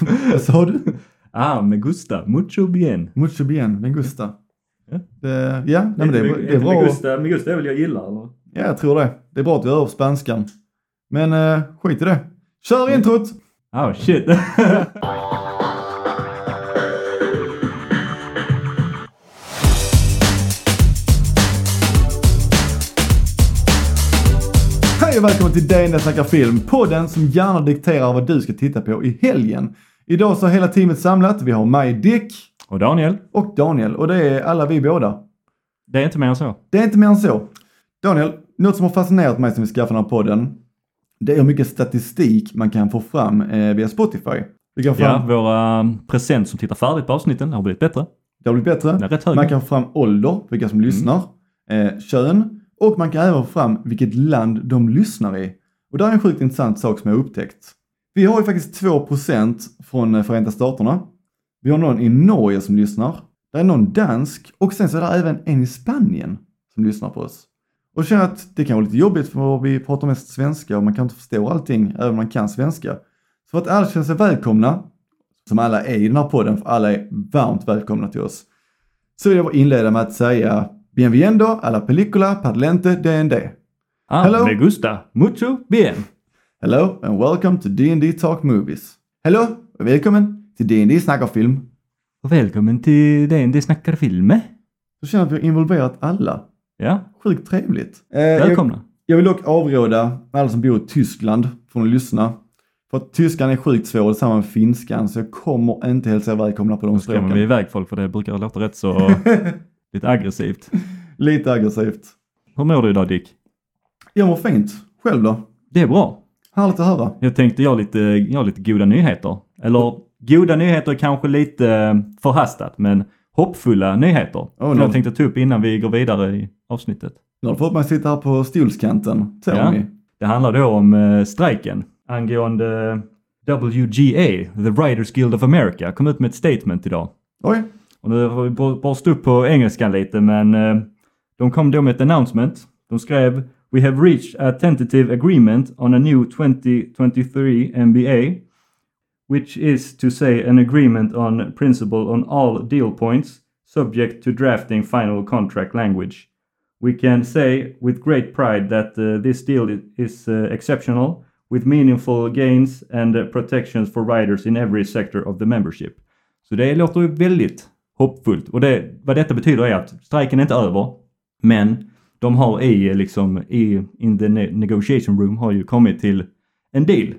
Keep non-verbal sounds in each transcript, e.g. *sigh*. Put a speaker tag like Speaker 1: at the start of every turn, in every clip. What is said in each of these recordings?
Speaker 1: *laughs* Vad sa du?
Speaker 2: Ah, me gusta. Mucho bien.
Speaker 1: Mucho bien, men Gusta.
Speaker 2: Ja.
Speaker 1: Det, ja, nej, men det,
Speaker 2: Inte
Speaker 1: är-
Speaker 2: me-
Speaker 1: det är
Speaker 2: inte Me
Speaker 1: bra. att-
Speaker 2: gusta, me gusta är väl jag gillar eller?
Speaker 1: Ja, jag tror det. Det är bra att du är på spanskan. Men eh, skit i det. Kör introt!
Speaker 2: Oh shit. *laughs*
Speaker 1: Hej och välkommen till DN Jag snackar film, podden som gärna dikterar vad du ska titta på i helgen. Idag så har hela teamet samlat. Vi har mig, Dick
Speaker 2: Och Daniel,
Speaker 1: och Daniel och det är alla vi båda.
Speaker 2: det är inte mer än så.
Speaker 1: Det är inte mer än så. Daniel, något som har fascinerat mig som vi skaffade den här podden, det är hur mycket statistik man kan få fram eh, via Spotify. Vi kan få
Speaker 2: Ja,
Speaker 1: fram,
Speaker 2: våra um, present som tittar färdigt på avsnitten har blivit bättre.
Speaker 1: det har blivit bättre.
Speaker 2: Den är rätt hög.
Speaker 1: Man kan få fram ålder, vilka som lyssnar, eh, kön och man kan även få fram vilket land de lyssnar i. Och där är en sjukt intressant sak som jag har upptäckt. Vi har ju faktiskt 2% från eh, Förenta Staterna. Vi har någon i Norge som lyssnar. Det är någon dansk och sen så är det även en i Spanien som lyssnar på oss. Och jag känner att det kan vara lite jobbigt för vi pratar mest svenska och man kan inte förstå allting även om man kan svenska. Så för att alla känner sig välkomna, som alla är i den här podden, för alla är varmt välkomna till oss så vill jag bara inleda med att säga Bienvenido a la película Parlente D&D.
Speaker 2: Ah,
Speaker 1: Hello.
Speaker 2: me gusta. Mucho bien.
Speaker 1: Hello and welcome to D&D Talk Movies. Hello och välkommen till D&D snackar film.
Speaker 2: Och välkommen till D&D snackar filmer.
Speaker 1: Så känner jag att vi har involverat alla.
Speaker 2: Ja,
Speaker 1: Sjukt trevligt. Eh, jag,
Speaker 2: välkomna.
Speaker 1: jag vill dock avråda alla som bor i Tyskland från att lyssna. För att tyskan är sjukt svår, och detsamma med finskan, så jag kommer inte hälsa er välkomna på de
Speaker 2: Nu skrämmer vi
Speaker 1: språken.
Speaker 2: iväg folk för det brukar låta rätt *laughs* så lite aggressivt.
Speaker 1: Lite aggressivt.
Speaker 2: Hur mår du idag Dick?
Speaker 1: Jag mår fint. Själv då?
Speaker 2: Det är bra.
Speaker 1: Härligt att höra.
Speaker 2: Jag tänkte jag har lite, jag har lite goda nyheter. Eller goda nyheter är kanske lite eh, förhastat men hoppfulla nyheter. som
Speaker 1: no.
Speaker 2: jag tänkte ta upp innan vi går vidare i avsnittet.
Speaker 1: Nu har du fått mig att sitta här på stolskanten. Tony.
Speaker 2: Ja. Det handlar då om eh, strejken angående WGA, The Writers Guild of America, kom ut med ett statement idag.
Speaker 1: Oj,
Speaker 2: Och nu har vi bor- borst upp på engelskan lite men eh, de kom då med ett announcement. De skrev We have reached a tentative agreement on a new 2023 MBA which is to say an agreement on principle on all deal points subject to drafting final contract language. We can say with great pride that uh, this deal i- is uh, exceptional with meaningful gains and uh, protections for riders in every sector of the membership. Så det låter ju väldigt hoppfullt. Och det, vad detta betyder är att strejken är inte över. Men de har i, eh, liksom, i in the ne- negotiation room har ju kommit till en deal.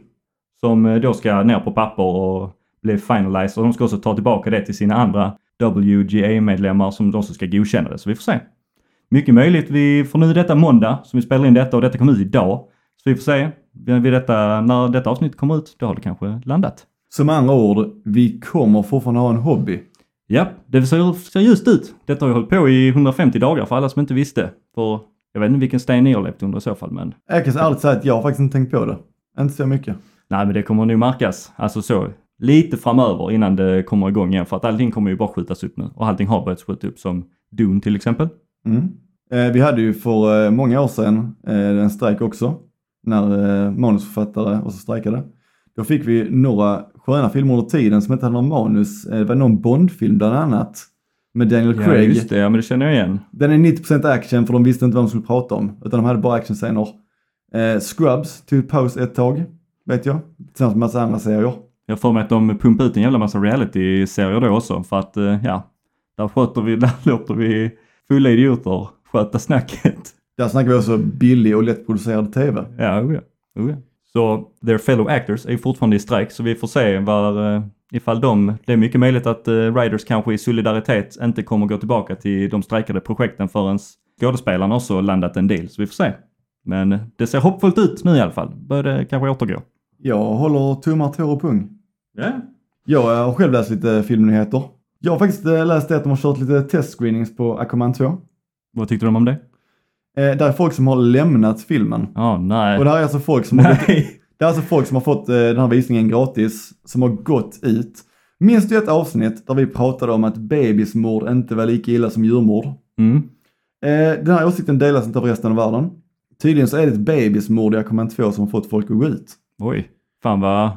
Speaker 2: Som eh, då ska ner på papper och bli finalized. Och de ska också ta tillbaka det till sina andra WGA-medlemmar som också ska godkänna det. Så vi får se. Mycket möjligt. Vi får nu detta måndag som vi spelar in detta och detta kom ut idag. Så vi får se. Vid detta, när detta avsnitt kommer ut, då har det kanske landat.
Speaker 1: Så med andra ord, vi kommer fortfarande ha en hobby.
Speaker 2: Ja, det ser seriöst ut. Detta har ju hållit på i 150 dagar för alla som inte visste. För jag vet inte vilken sten ni har levt under i så fall, men
Speaker 1: Jag kan så ärligt säga att jag har faktiskt inte tänkt på det. Inte så mycket.
Speaker 2: nej, men det kommer nog märkas. Alltså så lite framöver innan det kommer igång igen. För att allting kommer ju bara skjutas upp nu och allting har börjat skjuta upp som Dune till exempel.
Speaker 1: Mm. Eh, vi hade ju för eh, många år sedan eh, en strejk också. När eh, manusförfattare också strejkade. Då fick vi några sköna filmer under tiden som inte hade någon manus. Eh, det var någon Bondfilm bland annat. Med Daniel
Speaker 2: Ja,
Speaker 1: Craig.
Speaker 2: just det. Ja, men det känner jag igen.
Speaker 1: Den är 90% action för de visste inte vad de skulle prata om. Utan de hade bara actionscener. Eh, Scrubs tog paus ett tag. Vet jag. Tillsammans med massa andra serier.
Speaker 2: Jag har för mig att de pumpar ut en jävla massa reality-serier då också för att, eh, ja, där sköter vi, *laughs* där låter vi fulla idioter sköta snacket. *laughs*
Speaker 1: Där snackar vi också billig och lättproducerad TV.
Speaker 2: Ja, oh ja. Oh ja. Så their fellow actors är ju fortfarande i strejk så vi får se var, eh, ifall de, det är mycket möjligt att eh, Riders kanske i solidaritet inte kommer gå tillbaka till de strejkade projekten förrän skådespelarna också landat en deal. Så vi får se. Men eh, det ser hoppfullt ut nu i alla fall. Börjar det kanske återgå.
Speaker 1: Jag håller tummar, tår och pung.
Speaker 2: Ja.
Speaker 1: Jag eh, har själv läst lite filmnyheter. Jag har faktiskt eh, läst det att de har kört lite testscreenings på Aquaman 2. Eh,
Speaker 2: Vad tyckte de om det?
Speaker 1: där är folk som har lämnat filmen.
Speaker 2: Ja, nej. *laughs*
Speaker 1: Och det här är alltså folk som har,
Speaker 2: nej.
Speaker 1: det här är alltså folk som har fått eh, den här visningen gratis, som har gått ut. Minns du ett avsnitt där vi pratade om att bebismord inte var lika illa som djurmord?
Speaker 2: Mm.
Speaker 1: Eh, den här åsikten delas inte av resten av världen. Tydligen så är det ett bebismord i Aquaman 2 som har fått folk att gå ut.
Speaker 2: Oj. Fan vad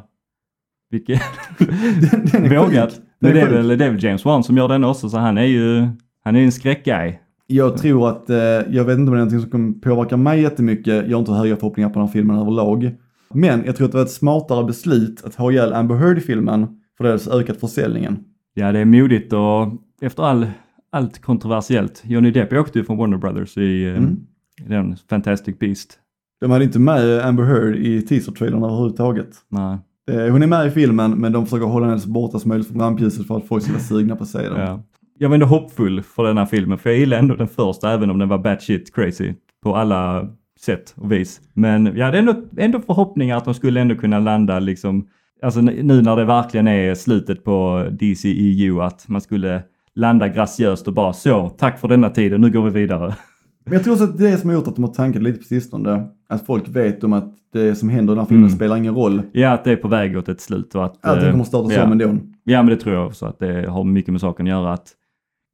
Speaker 2: Vilket
Speaker 1: *laughs* Den, den är
Speaker 2: *laughs* vågat.
Speaker 1: sjuk. Den
Speaker 2: Men det
Speaker 1: är
Speaker 2: är,
Speaker 1: sjuk.
Speaker 2: väl, det är väl James Wan som gör den också, så han är ju han är ju en skräckguy.
Speaker 1: Jag tror att, eh, jag vet inte om det är någonting som kommer påverka mig jättemycket. Jag har inte höga förhoppningar på den här filmen överlag. Men jag tror att det var ett smartare beslut att ha ihjäl Amber Heard i filmen för det hade ökat försäljningen.
Speaker 2: Ja, det är modigt och efter all, allt kontroversiellt. Johnny Depp åkte ju från Warner Brothers i eh,
Speaker 1: Mm.
Speaker 2: i den Fantastic Beast.
Speaker 1: De hade inte med Amber Heard i teaser-trailern överhuvudtaget.
Speaker 2: Nej,
Speaker 1: Eh, Hon är med i filmen men de försöker hålla henne så borta som möjligt från rampljuset för att folk ska vara sugna på att se den.
Speaker 2: ja. Jag var ändå hoppfull för den här filmen, för jag gillade ändå den första, även om den var batshit crazy på alla sätt och vis. Men jag hade ändå, ändå förhoppningar att de skulle ändå kunna landa liksom, alltså n- nu när det verkligen är slutet på DCEU, att man skulle landa graciöst och bara så, tack för denna tiden, nu går vi vidare. *laughs*
Speaker 1: Men jag tror också att det är som har gjort att de har tankat lite på sistone. Att folk vet om att det som händer i den här filmen
Speaker 2: Mm.
Speaker 1: spelar ingen roll.
Speaker 2: Ja, att det är på väg åt ett slut och att...
Speaker 1: Allting
Speaker 2: eh,
Speaker 1: kommer startas
Speaker 2: ja.
Speaker 1: om ändå.
Speaker 2: Ja, men det tror jag också att det har mycket med saken att göra att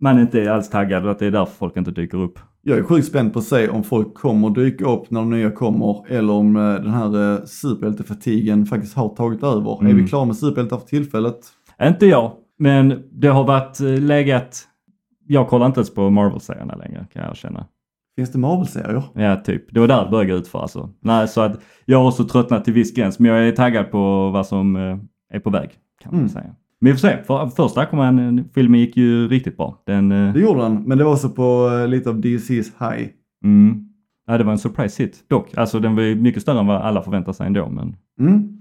Speaker 2: man inte är alls taggad och att det är därför folk inte dyker upp.
Speaker 1: Jag är sjukt spänd på att se om folk kommer dyka upp när de nya kommer eller om eh, den här eh, superhjältefatigen faktiskt har tagit över.
Speaker 2: Mm.
Speaker 1: Är vi klara med superhjältar för tillfället?
Speaker 2: Inte jag, men det har varit eh, legat... Jag kollar inte ens på Marvel-serierna längre kan jag erkänna.
Speaker 1: Finns det Marvel-serier?
Speaker 2: Ja, typ. Det var där det började utför alltså. Nej, så att jag har också tröttnat till viss gräns, men jag är taggad på vad som eh, är på väg kan man
Speaker 1: Mm.
Speaker 2: säga. Men vi får se. För, första kom han, filmen gick ju riktigt bra. Den, eh,
Speaker 1: Det gjorde den, men det var också på eh, lite av DC's high.
Speaker 2: mm, ja, det var en surprise hit dock. Alltså den var ju mycket större än vad alla förväntade sig ändå, men
Speaker 1: Mm.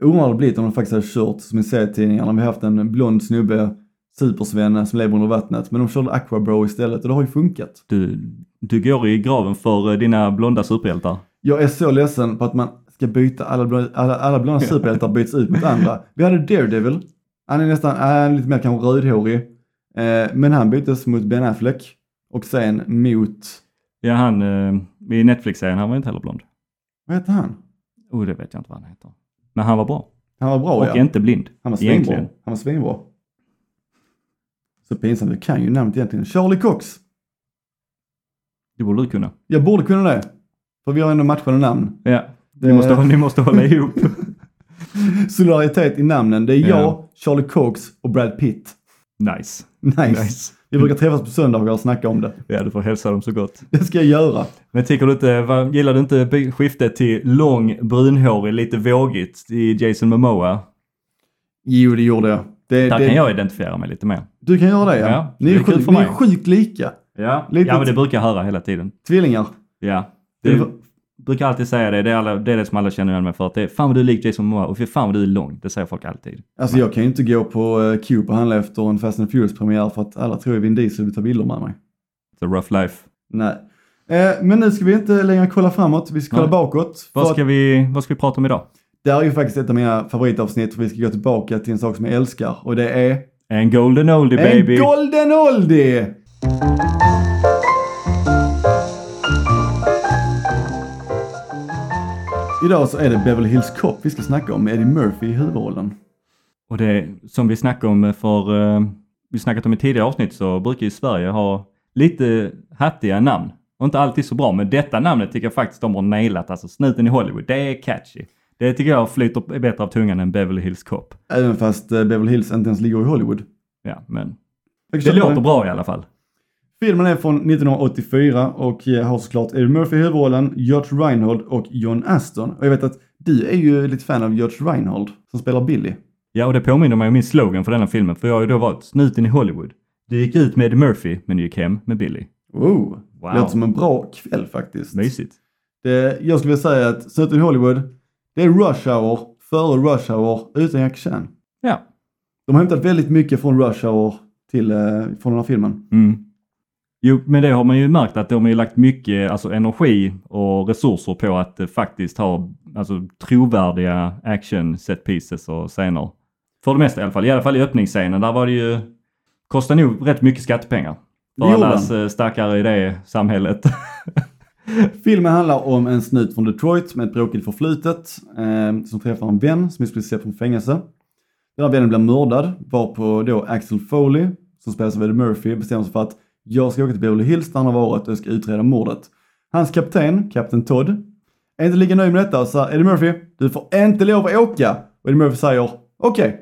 Speaker 1: Undrar hade blivit om de faktiskt hade kört som i serietidningarna. Vi har haft en blond snubbe, supersvenne som lever under vattnet. Men de körde Aquabro istället och det har ju funkat.
Speaker 2: Du, du går i graven för eh, dina blonda superhjältar.
Speaker 1: Jag är så ledsen på att man ska byta alla, blå- alla, alla blonda superhjältar byts ut mot andra. Vi hade Daredevil. Han är nästan, han är lite mer kanske rödhårig. Eh, men han byttes mot Ben Affleck. Och sen mot,
Speaker 2: Ja, han eh, i Netflix-serien, han var inte heller blond.
Speaker 1: vad heter han?
Speaker 2: Oh, det vet jag inte vad han heter. Men han var bra.
Speaker 1: Han var bra
Speaker 2: och
Speaker 1: ja.
Speaker 2: inte blind.
Speaker 1: Han var svinbra.
Speaker 2: egentligen.
Speaker 1: Han var svinbra. Så pinsamt, jag kan ju namnet egentligen. Charlie Cox.
Speaker 2: Det borde du kunna.
Speaker 1: Jag borde kunna det. För vi har ändå matchande namn.
Speaker 2: Ja, ni
Speaker 1: Eh.
Speaker 2: måste, ni
Speaker 1: *laughs*
Speaker 2: måste hålla ihop.
Speaker 1: Solidaritet i namnen. Det är
Speaker 2: Ja.
Speaker 1: jag, Charlie Cox och Brad Pitt. *laughs*
Speaker 2: Nice.
Speaker 1: Nice.
Speaker 2: nice.
Speaker 1: Vi brukar träffas på söndagar och snacka om det.
Speaker 2: Ja, du får hälsa dem så gott.
Speaker 1: Det ska jag göra.
Speaker 2: Men tycker du inte, vad, gillar du inte by- skiftet till lång, brunhårig, lite vågigt i Jason Momoa?
Speaker 1: Jo, det gjorde jag. Det,
Speaker 2: Där
Speaker 1: det,
Speaker 2: kan jag identifiera mig lite mer.
Speaker 1: Du kan göra det ja.
Speaker 2: Ja,
Speaker 1: ni,
Speaker 2: det
Speaker 1: är
Speaker 2: är kul
Speaker 1: sjukt,
Speaker 2: för
Speaker 1: ni är
Speaker 2: mig.
Speaker 1: sjukt lika.
Speaker 2: Ja,
Speaker 1: Lite-
Speaker 2: ja men det brukar jag höra hela tiden.
Speaker 1: Tvillingar.
Speaker 2: Ja.
Speaker 1: Det-
Speaker 2: Du brukar alltid säga det, det är, alla, det är det som alla känner igen mig för. Att det är, fan vad du är lik Jason Momoa och fy fan vad du är lång. Det säger folk alltid.
Speaker 1: Alltså jag kan ju inte gå på eh, Cube och handla efter en Fast and Furious premiär för att alla tror jag är Vin Diesel vill ta bilder med mig.
Speaker 2: The rough life.
Speaker 1: Nej. Eh, men nu ska vi inte längre kolla framåt, vi ska kolla
Speaker 2: Nej.
Speaker 1: bakåt. För
Speaker 2: Vad
Speaker 1: att
Speaker 2: ska, vi, vad ska vi prata om idag?
Speaker 1: det här är ju faktiskt ett av mina favoritavsnitt för vi ska gå tillbaka till en sak som jag älskar och det är
Speaker 2: En golden oldie baby.
Speaker 1: En golden oldie! Idag så är det Beverly Hills Cop vi ska snacka om med Eddie Murphy i huvudrollen.
Speaker 2: och det är som vi snackade om för, eh, vi snackat om i tidigare avsnitt så brukar ju Sverige ha lite hattiga namn. Och inte alltid så bra, men detta namnet tycker jag faktiskt de har nailat. Alltså snuten i Hollywood, det är catchy. Det tycker jag flyter bättre av tungan än Beverly Hills Cop.
Speaker 1: Även fast eh, Beverly Hills inte ens ligger i Hollywood.
Speaker 2: Ja, men
Speaker 1: Jag
Speaker 2: det
Speaker 1: köper
Speaker 2: låter bra i alla fall.
Speaker 1: Filmen är från 1984 och eh, har såklart Eddie Murphy i huvudrollen, George Reinhold och John Aston. Och jag vet att du är ju lite fan av George Reinhold som spelar Billy.
Speaker 2: Ja, och det påminner mig om min slogan för denna filmen, för jag har ju då valt snuten i Hollywood. Du gick ut med Eddie Murphy, men du gick hem med Billy.
Speaker 1: Wow!
Speaker 2: Wow.
Speaker 1: Låter som en bra kväll faktiskt.
Speaker 2: Mysigt.
Speaker 1: Det, jag skulle vilja säga att Snuten i Hollywood, det är Rush Hour före Rush Hour utan Jack Chan.
Speaker 2: Ja.
Speaker 1: De har hämtat väldigt mycket från Rush Hour till, eh, från den här filmen.
Speaker 2: Mm. Jo, men det har man ju märkt att de har ju lagt mycket alltså, energi och resurser på att eh, faktiskt ha alltså, trovärdiga action set pieces och scener. För det mesta i alla fall. I alla fall i öppningsscenen, där var det ju... Kostar nog rätt mycket skattepengar.
Speaker 1: Det
Speaker 2: För
Speaker 1: gjorde
Speaker 2: allas eh, stackare i det samhället. *laughs*
Speaker 1: Filmen handlar om en snut från Detroit med ett bråkigt förflutet eh, som träffar en vän som är skulle se från fängelse. Den här vännen blir mördad varpå då Axel Foley, som spelas av Eddie Murphy, bestämmer sig för att jag ska åka till Beverly Hills där han har varit och jag ska utreda mordet. Hans kapten, kapten Todd, är inte lika nöjd med detta och säger Eddie Murphy, du får inte lov att åka. Och Eddie Murphy säger, okej Okej,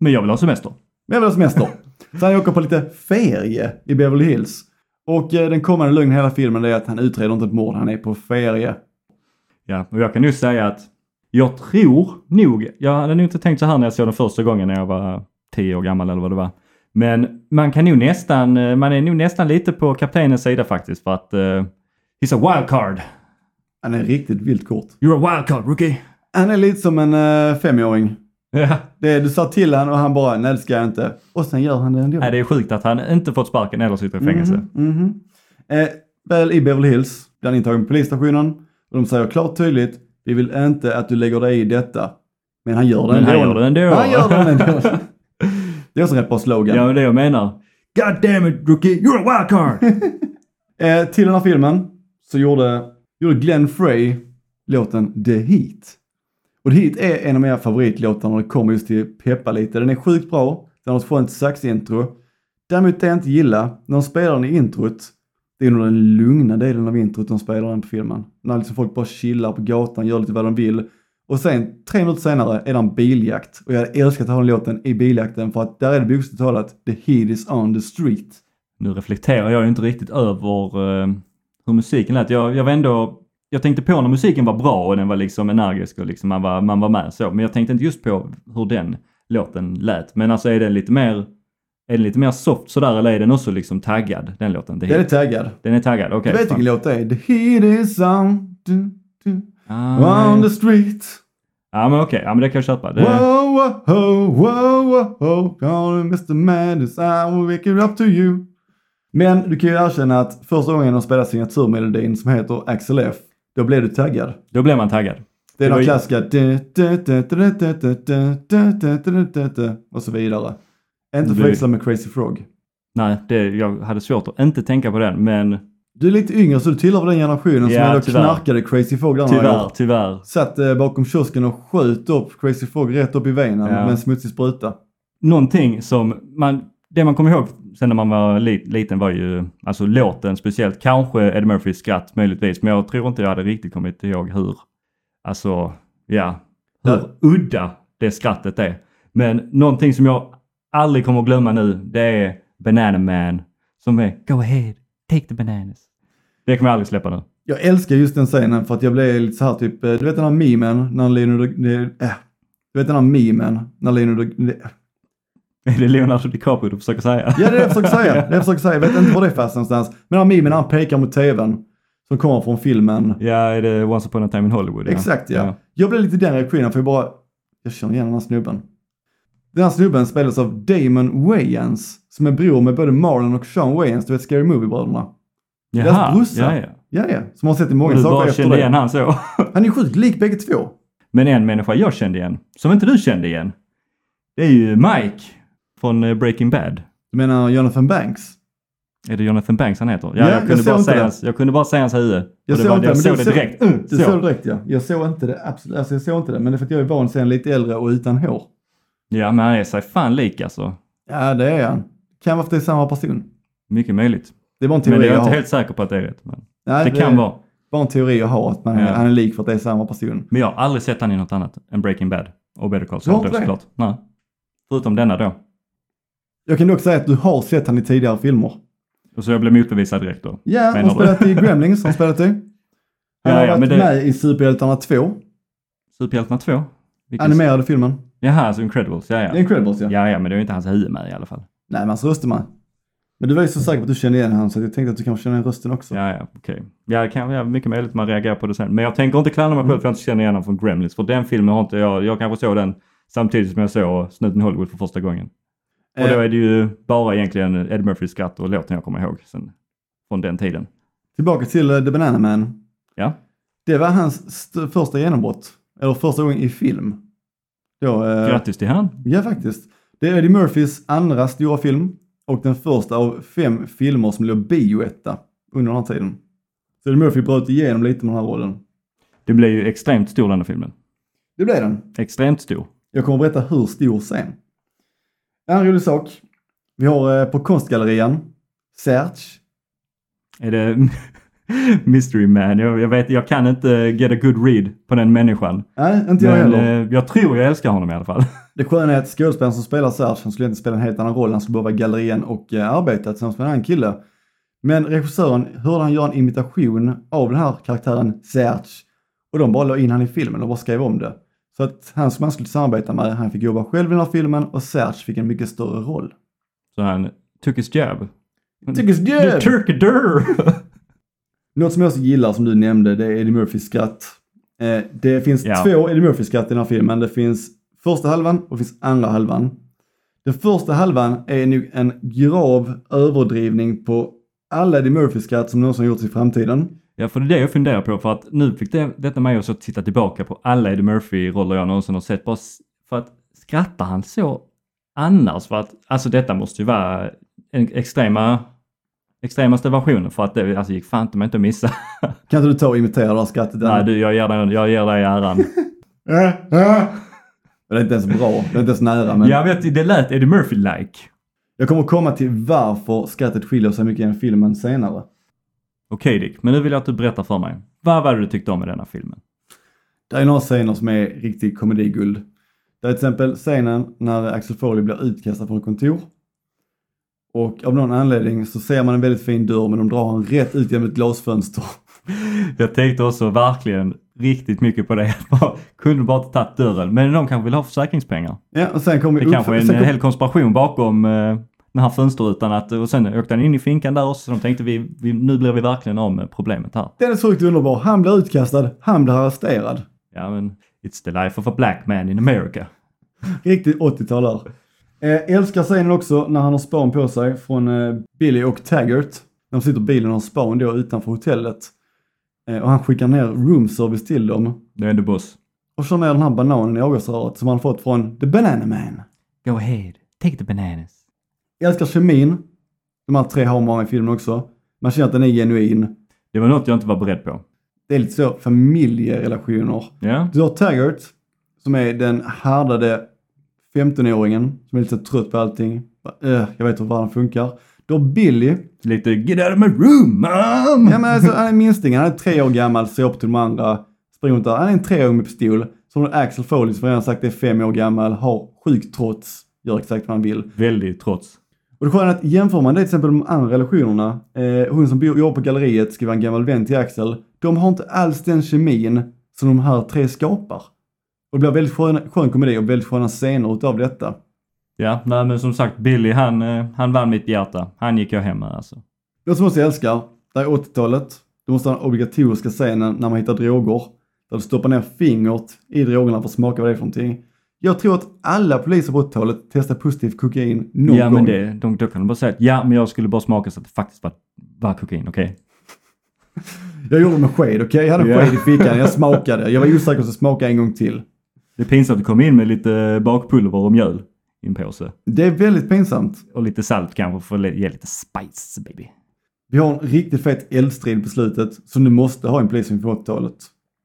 Speaker 2: Men jag vill ha semester.
Speaker 1: men jag vill ha semester. *laughs* Så han åker på lite ferie i Beverly Hills. Och eh, den kommande lögnen i hela filmen är att han utreder inte ett mord, han är på ferie.
Speaker 2: Ja, och jag kan nu säga att jag tror nog, jag hade nog inte tänkt så här när jag såg den första gången när jag var 10 år gammal eller vad det var. Men man kan nog nästan, eh, man är nog nästan lite på kaptenens sida faktiskt för att uh, he's a wildcard.
Speaker 1: Han är riktigt vilt kort.
Speaker 2: You're a wildcard rookie. *laughs*
Speaker 1: Han är lite som en eh, femåring.
Speaker 2: Ja,
Speaker 1: Det, du sa till han och han bara, nej det ska jag inte. Och sen gör han det ändå.
Speaker 2: Nej, det är sjukt att han inte fått sparken eller sitter i fängelse.
Speaker 1: Mhm, mhm. Eh, väl i Beverly Hills blir han intagen på polisstationen och de säger klart och tydligt, vi vill inte att du lägger dig i detta. Men han gör det
Speaker 2: Men
Speaker 1: ändå.
Speaker 2: han gör det ändå.
Speaker 1: Han gör det ändå. Det är också en rätt bra slogan.
Speaker 2: *laughs* Ja, det är det jag menar. God damn it rookie, you're a wildcard!
Speaker 1: Eh, till den här filmen så gjorde, gjorde Glenn Frey låten The Heat. Och The Heat är en av mina favoritlåtar när det kommer just till peppa lite. Den är sjukt bra, den har ett skönt saxintro. Däremot det jag inte gillar, när de spelar den i introt, det är nog den lugna delen av introt de spelar den på filmen. När liksom folk bara chillar på gatan, gör lite vad de vill. Och sen, tre minuter senare, är det en biljakt. Och jag hade älskat att ha den låten i biljakten för att där är det bokstavligt talat The Heat is on the street.
Speaker 2: Nu reflekterar jag ju inte riktigt över eh, hur musiken lät. Jag, jag var ändå, jag tänkte på när musiken var bra och den var liksom energisk och liksom man, var, man var med så. Men jag tänkte inte just på hur den låten lät. Men alltså är den lite mer, är den lite mer soft sådär eller är den också liksom taggad den låten? Det är,
Speaker 1: Den är taggad.
Speaker 2: den är taggad, okej.
Speaker 1: Du vet
Speaker 2: fan.
Speaker 1: vilken låt det är? The heat is on, du, du,
Speaker 2: ah,
Speaker 1: on the street.
Speaker 2: ja men okej, ja men det kan jag köpa. Det,
Speaker 1: Wow, wow, wow, wow, wow. Call me Mr. Madness, I will wake it up to you. Men du kan ju erkänna att första gången de spelade signaturmelodin som heter Axel F, då blev du taggad.
Speaker 2: då blir man taggad.
Speaker 1: Det är
Speaker 2: Det var
Speaker 1: den
Speaker 2: ju-
Speaker 1: klassiska du, du, du, du, du, du, du, du, du, du, du, du, du, och så vidare. Inte
Speaker 2: Det-
Speaker 1: förväxla med Crazy Frog.
Speaker 2: Nej, det, jag hade svårt att inte tänka på den men
Speaker 1: Du är lite yngre så du tillhör den generationen som
Speaker 2: Ja,
Speaker 1: ändå
Speaker 2: tyvärr.
Speaker 1: knarkade Crazy Frog där några gånger.
Speaker 2: tyvärr, tyvärr
Speaker 1: satt eh, bakom kiosken och sköt upp Crazy Frog rätt upp i venen
Speaker 2: Ja.
Speaker 1: med en smutsig spruta.
Speaker 2: någonting som man, det man kommer ihåg sen när man var li, liten var ju alltså låten speciellt, kanske Eddie Murphys skratt möjligtvis, men jag tror inte jag hade riktigt kommit ihåg hur, alltså ja, hur
Speaker 1: Ja.
Speaker 2: udda det skrattet är. Men någonting som jag aldrig kommer att glömma nu, det är Banana Man som är Go ahead, take the bananas. Det kommer jag aldrig släppa nu. *laughs*
Speaker 1: Jag älskar just den scenen för att jag blev lite så här typ, eh, du vet den här memen när Leonardo... eh, Äh, du vet den här memen när Leonardo... eh,
Speaker 2: Är det Leonardo DiCaprio du försöker säga?
Speaker 1: Ja det är det jag försöker säga, det är det jag försöker säga. Jag vet inte var det är fast någonstans. Men den här memen när han pekar mot tvn som kommer från filmen.
Speaker 2: Ja, är det Once upon a time in Hollywood?
Speaker 1: Exakt ja. Jag blev lite den reaktionen för jag bara, jag känner igen den här snubben. Den här snubben spelas av Damon Wayans som är bror med både Marlon och Sean Wayans, du vet Scary Movie-bröderna.
Speaker 2: Jaha,
Speaker 1: Deras brorsa.
Speaker 2: Ja, ja.
Speaker 1: Ja, ja. Som har sett i många
Speaker 2: Du
Speaker 1: saker
Speaker 2: bara
Speaker 1: efter
Speaker 2: kände
Speaker 1: det.
Speaker 2: igen han så.
Speaker 1: Han är sjukt lik bägge två.
Speaker 2: Men en människa jag kände igen, som inte du kände igen, det är ju Mike från eh, Breaking Bad.
Speaker 1: Du menar Jonathan Banks?
Speaker 2: Är det Jonathan Banks han heter?
Speaker 1: Ja,
Speaker 2: Ja,
Speaker 1: jag
Speaker 2: jag, kunde
Speaker 1: såg
Speaker 2: bara
Speaker 1: inte det.
Speaker 2: säga hans, jag kunde bara säga hans huvud. Och
Speaker 1: Jag
Speaker 2: det
Speaker 1: såg
Speaker 2: var-
Speaker 1: inte
Speaker 2: jag
Speaker 1: det, men
Speaker 2: såg
Speaker 1: du
Speaker 2: det
Speaker 1: såg-
Speaker 2: direkt. Mm,
Speaker 1: Du
Speaker 2: så.
Speaker 1: såg det direkt ja. Jag såg inte det, absolut. Alltså jag såg inte det, men det är för att jag är van sen lite äldre och utan hår.
Speaker 2: Ja, men han är sig fan lik alltså.
Speaker 1: Ja, det är han. Kan vara för att det är samma person.
Speaker 2: Mycket möjligt.
Speaker 1: Det är bara en
Speaker 2: Men
Speaker 1: teori
Speaker 2: det är
Speaker 1: jag
Speaker 2: jag inte
Speaker 1: har.
Speaker 2: helt säker på att det är rätt. Men
Speaker 1: Nej,
Speaker 2: det kan vara.
Speaker 1: bara en teori jag har att man,
Speaker 2: Ja.
Speaker 1: han är lik för att det är samma person.
Speaker 2: Men jag har aldrig sett han i något annat än Breaking Bad och Better Call
Speaker 1: Du har
Speaker 2: Saul då,
Speaker 1: inte det?
Speaker 2: såklart. Nej. Förutom denna då.
Speaker 1: Jag kan dock säga att du har sett han i tidigare filmer.
Speaker 2: Och så jag blev motbevisad direkt då.
Speaker 1: Ja, han
Speaker 2: Menar
Speaker 1: har
Speaker 2: du?
Speaker 1: spelat i Gremlins, han har
Speaker 2: *laughs*
Speaker 1: spelat i. Han
Speaker 2: Ja,
Speaker 1: har
Speaker 2: ja,
Speaker 1: varit
Speaker 2: men det-
Speaker 1: med i Superhjältarna 2,
Speaker 2: Superhjältarna 2. Vilken...
Speaker 1: animerade filmen.
Speaker 2: Jaha, alltså Incredibles. Ja,
Speaker 1: Det är
Speaker 2: ja.
Speaker 1: Incredibles ja.
Speaker 2: Ja, ja, men det är ju inte hans huvud med i alla fall.
Speaker 1: Nej, men hans röst är med. Men du var ju så säker på att du kände igen honom så att jag tänkte att du kanske känner igen rösten också.
Speaker 2: Ja, ja, okej. Ja, det kan ja, mycket möjligt att man reagerar på det sen. Men jag tänker inte klandra mig själv för
Speaker 1: Mm.
Speaker 2: att jag inte känner igen honom från Gremlins. För den filmen har inte jag, jag kanske såg den samtidigt som jag såg Snuten i Hollywood för första gången. Och
Speaker 1: Eh,
Speaker 2: då är det ju bara egentligen Ed Murphys skratt och låten jag kommer ihåg sen, från den tiden.
Speaker 1: Tillbaka till eh, The Banana Man.
Speaker 2: Ja.
Speaker 1: Det var hans st- första genombrott. Eller första gången i film. Då, eh,
Speaker 2: Grattis till han.
Speaker 1: ja, faktiskt. Det är Eddie Murphys andra stora film och den första av fem filmer som låg bioetta under den här tiden. Så Eddie Murphy bröt igenom lite med den här rollen.
Speaker 2: Det blev ju extremt stor den här filmen.
Speaker 1: Det blev den.
Speaker 2: Extremt stor.
Speaker 1: Jag kommer att berätta hur stor sen. En annan rolig sak. Vi har eh, på konstgallerian, Serge,
Speaker 2: Är det *laughs* Mystery man. Jag, jag vet, jag kan inte get a good read på den människan.
Speaker 1: Nej, inte jag
Speaker 2: Men
Speaker 1: heller.
Speaker 2: eh, jag tror jag älskar honom i alla fall.
Speaker 1: Det sköna är att skådespelaren som spelar Serge, han skulle inte spela en helt annan roll. Han skulle bara vara i galerien och eh, arbeta tillsammans med en annan kille. Men regissören hörde han göra en imitation av den här karaktären Serge. Och de bara la in han i filmen och bara skrev om det. Så att han som han skulle samarbeta med, han fick jobba själv i den här filmen och Serge fick en mycket större roll.
Speaker 2: Så han took his job.
Speaker 1: Tycker så
Speaker 2: The
Speaker 1: jävligt.
Speaker 2: Turk Durr!
Speaker 1: Något som jag också gillar som du nämnde, det är Eddie Murphys skratt. Eh, det finns
Speaker 2: Ja.
Speaker 1: två Eddie Murphy-skratt i den här filmen. Det finns första halvan och det finns andra halvan. Den första halvan är nu en grav överdrivning på alla Eddie Murphy-skratt som någonsin gjorts i framtiden.
Speaker 2: ja, för det är det jag funderar på. För att nu fick det, detta mig också att titta tillbaka på alla Eddie Murphy-roller jag någonsin har sett. Bara s- för att skrattar han så annars? För att alltså detta måste ju vara en extrema, extremaste versionen för att det alltså, gick fan inte mig inte att *laughs* missa.
Speaker 1: Kan inte du ta och imitera det här skrattet?
Speaker 2: Nej du, jag ger dig, jag ger dig äran.
Speaker 1: Äh, äh. Det är inte ens bra, det är inte ens nära. Men
Speaker 2: Jag vet, det lät Eddie Murphy-like.
Speaker 1: Jag kommer komma till varför skrattet skiljer sig mycket i den filmen senare.
Speaker 2: Okej Dick, men nu vill jag att du berättar för mig. Vad var det du tyckte om i denna filmen?
Speaker 1: Det är några scener som är riktigt komediguld. Det är till exempel scenen när Axel Foley blir utkastad från kontor. Och av någon anledning så ser man en väldigt fin dörr men de drar honom rätt ut genom ett glasfönster. *laughs*
Speaker 2: Jag tänkte också verkligen riktigt mycket på det. *laughs* Bara- Kunde bara inte tagit dörren. Men de kanske vill ha försäkringspengar.
Speaker 1: Ja, och sen kommer
Speaker 2: Det
Speaker 1: upp-
Speaker 2: kanske är en
Speaker 1: sen kom-
Speaker 2: hel konspiration bakom eh, den här fönsterrutan. Att, och sen åkte han in i finkan där också. Så de tänkte vi, vi, nu blir vi verkligen av med problemet här.
Speaker 1: Den är så sjukt underbar. Han blir utkastad, han blir arresterad.
Speaker 2: Ja men, it's the life of a black man in America.
Speaker 1: Riktigt 80-tal där. Eh, älskar scenen också när han har span på sig från eh, Billy och Taggart. De sitter i bilen och har span då utanför hotellet. Eh, och han skickar ner roomservice till dem.
Speaker 2: Det är ändå boss.
Speaker 1: och kör ner den här bananen i avgasröret som han fått från The Banana Man.
Speaker 2: Go ahead, take the bananas.
Speaker 1: Jag älskar kemin. De här tre har man i filmen också. Man känner att den är genuin.
Speaker 2: Det var något jag inte var beredd på.
Speaker 1: Det är lite så familjerelationer.
Speaker 2: Ja,
Speaker 1: Du har Taggart som är den härdade 15-åringen som är lite trött på allting. Bara, "Öh, Jag vet hur världen funkar. Du har Billy.
Speaker 2: lite get out of my room mom!
Speaker 1: Ja, men alltså, han är minstingen. Han är tre år gammal, ser upp till de andra. Springer runt där. Han är en treåring med pistol. Som Axel Foley som jag redan sagt är fem år gammal, har sjuk trots, gör exakt vad han vill.
Speaker 2: Väldigt trots.
Speaker 1: Och det sköna är att jämför man det till exempel med de andra relationerna, eh, hon som bor- jobbar på galleriet skriver en gammal vän till Axel, de har inte alls den kemin som de här tre skapar. Och det blir väldigt skön, skön komedi och väldigt sköna scener utav detta.
Speaker 2: Ja, nej men som sagt Billy han, eh, han vann mitt hjärta. Han gick jag hem med alltså.
Speaker 1: Något som jag också älskar, det är 80-talet. Du måste ha den obligatoriska scenen när man hittar droger. Där du stoppar ner fingret i drogerna för att smaka vad det är för någonting. Jag tror att alla poliser på 80-talet testar positivt kokain någon
Speaker 2: ja
Speaker 1: gång.
Speaker 2: men det, de, då kan de bara säga att ja men jag skulle bara smaka så att det faktiskt var, var kokain, okej?
Speaker 1: Jag gjorde det med sked, okej? Jag hade en
Speaker 2: Ja.
Speaker 1: sked i fickan, jag smakade. Jag var osäker så smakade en gång till.
Speaker 2: Det är pinsamt att komma in med lite bakpulver och mjöl i en påse.
Speaker 1: Det är väldigt pinsamt.
Speaker 2: Och lite salt kanske för att ge lite spice baby.
Speaker 1: Vi har en riktigt fet eldstrid på slutet som du måste ha i en polisfilm på 80-talet.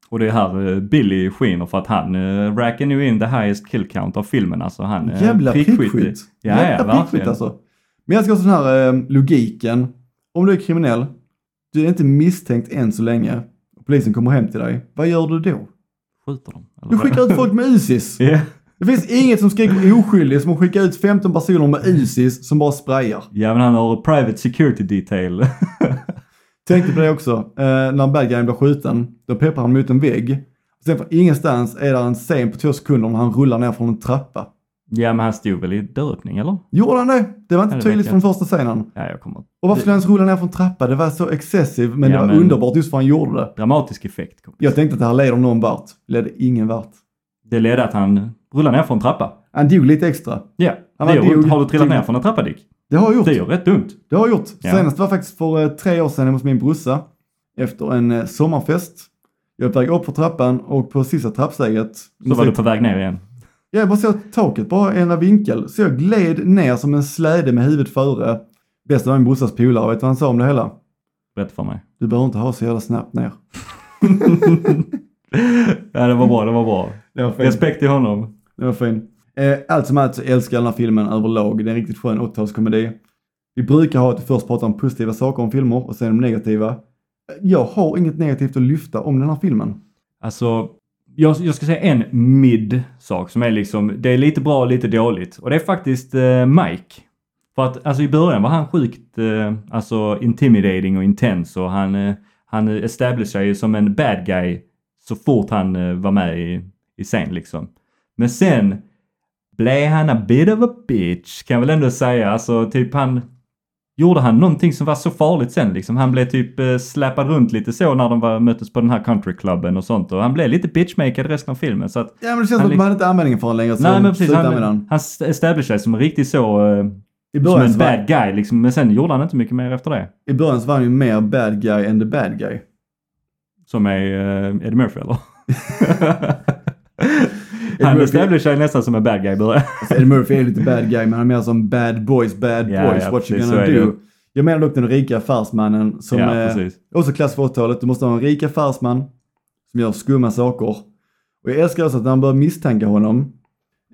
Speaker 2: Och det är här eh, Billy skiner för att han äh, rackar nu in the highest kill count av filmen alltså. Han, eh,
Speaker 1: Jävla
Speaker 2: prickskytt.
Speaker 1: prickskytt!
Speaker 2: Ja, ja,
Speaker 1: Jävla prickskytt
Speaker 2: verkligen.
Speaker 1: alltså. Men jag ska ha sån här eh, logiken. Om du är kriminell, du är inte misstänkt än så länge. Polisen kommer hem till dig. Vad gör du då?
Speaker 2: Skjuter dem? eller
Speaker 1: Du
Speaker 2: vad?
Speaker 1: skickar ut folk med ISIS.
Speaker 2: Ja.
Speaker 1: Det finns inget som skriker oskyldig som att skicka ut 15 personer med ISIS som bara sprayar.
Speaker 2: Ja men han har private security detail. *laughs*
Speaker 1: Tänkte på det också. Eh, när bad guyen blir skjuten, då peppar han mot en vägg. Sen från ingenstans är det en scen på två sekunder när han rullar ner från en trappa.
Speaker 2: ja men han stod väl i dörröppning eller?
Speaker 1: Gjorde han det? Det var inte
Speaker 2: Ja, det
Speaker 1: tydligt
Speaker 2: vet
Speaker 1: från
Speaker 2: jag.
Speaker 1: första scenen.
Speaker 2: Ja jag kommer
Speaker 1: Och varför skulle han ens rulla ner från trappa? Det var så excessiv, men
Speaker 2: Ja,
Speaker 1: det var
Speaker 2: men-
Speaker 1: underbart just för han gjorde det.
Speaker 2: Dramatisk effekt. kompis.
Speaker 1: Jag tänkte att det här leder någon vart. Ledde ingen vart.
Speaker 2: Det ledde att han rullade ner för en trappa.
Speaker 1: Han dog lite extra.
Speaker 2: Ja,
Speaker 1: Han
Speaker 2: det
Speaker 1: var
Speaker 2: gör ont.
Speaker 1: dog.
Speaker 2: Har du trillat
Speaker 1: Dog.
Speaker 2: ner från en trappa Dick?
Speaker 1: Det har jag gjort.
Speaker 2: Det gör rätt dumt.
Speaker 1: Det har jag gjort.
Speaker 2: Ja.
Speaker 1: Senast var faktiskt för eh, tre år sedan hemma hos min brorsa. Efter en eh, sommarfest. Jag är på väg upp för trappan och på sista trappsteget
Speaker 2: Så var du på väg ner igen.
Speaker 1: Ja, jag bara såg taket, bara i ena vinkel. Så jag gled ner som en släde med huvudet före. Bästa var min brorsas polare, vet du vad han sa om det hela?
Speaker 2: Berätta för mig. *laughs*
Speaker 1: Du behöver inte ha så jävla snabbt ner.
Speaker 2: ja, det var bra, det var bra.
Speaker 1: Det var
Speaker 2: Respekt till honom.
Speaker 1: Det var fin. Eh, allt som allt så älskar jag den här filmen överlag. Det är en riktigt skön 80-talskomedi. Vi brukar ha att vi först pratar om positiva saker om filmer och sen om negativa. Jag har inget negativt att lyfta om den här filmen.
Speaker 2: Alltså, jag, jag ska säga en mid-sak som är liksom, det är lite bra och lite dåligt. Och det är faktiskt eh, Mike. För att alltså i början var han sjukt eh, alltså intimidating och intens och han, eh, han established sig ju som en bad guy så fort han eh, var med i, i scen liksom. Men sen blev han a bit of a bitch kan jag väl ändå säga. Alltså typ han gjorde han någonting som var så farligt sen liksom. Han blev typ eh, släpad runt lite så när de var, möttes på den här countryklubben och sånt och han blev lite bitchmakad resten av filmen så att
Speaker 1: Ja men det känns
Speaker 2: Han
Speaker 1: som att
Speaker 2: liksom-
Speaker 1: man inte användning för den längre. så
Speaker 2: Nej men
Speaker 1: de
Speaker 2: precis,
Speaker 1: slutar
Speaker 2: han,
Speaker 1: använda den.
Speaker 2: han established sig som riktigt så
Speaker 1: I
Speaker 2: eh, som
Speaker 1: början,
Speaker 2: en
Speaker 1: så var,
Speaker 2: bad guy liksom, men sen gjorde han inte mycket mer efter det.
Speaker 1: I början så var han ju mer bad guy än the bad guy.
Speaker 2: Som är uh, Eddie
Speaker 1: *laughs*
Speaker 2: Murphy eller? han
Speaker 1: Murphy-
Speaker 2: establishade sig nästan som en bad guy i början.
Speaker 1: Alltså, Eddie Murphy är lite bad guy men han är mer som bad boys, bad
Speaker 2: Ja,
Speaker 1: boys,
Speaker 2: ja,
Speaker 1: what you
Speaker 2: precis,
Speaker 1: gonna
Speaker 2: så är det.
Speaker 1: do. Jag menar dock den rika affärsmannen som
Speaker 2: ja,
Speaker 1: eh,
Speaker 2: precis.
Speaker 1: Också klass för 80-talet, du måste ha en rik affärsman som gör skumma saker. Och jag älskar också att när han börjar misstänka honom,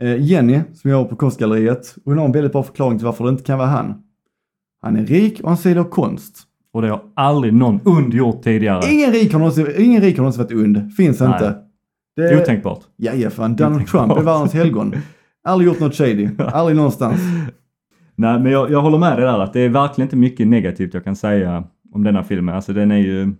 Speaker 1: eh, Jenny som jag har på konstgalleriet, hon har en väldigt bra förklaring till varför det inte kan vara han. Han är rik och han säljer konst.
Speaker 2: Och det har aldrig någon ond gjort tidigare.
Speaker 1: Ingen rik har någonsin, ingen rik har någonsin varit ond, finns
Speaker 2: Nej.
Speaker 1: inte. Det,
Speaker 2: Otänkbart.
Speaker 1: ja, ja, fan, Donald
Speaker 2: Otänkbart.
Speaker 1: Trump är världens helgon. Aldrig gjort något
Speaker 2: *laughs*
Speaker 1: shady, aldrig någonstans.
Speaker 2: Nej, men jag, jag håller med dig där att det är verkligen inte mycket negativt jag kan säga om denna filmen. Alltså den är ju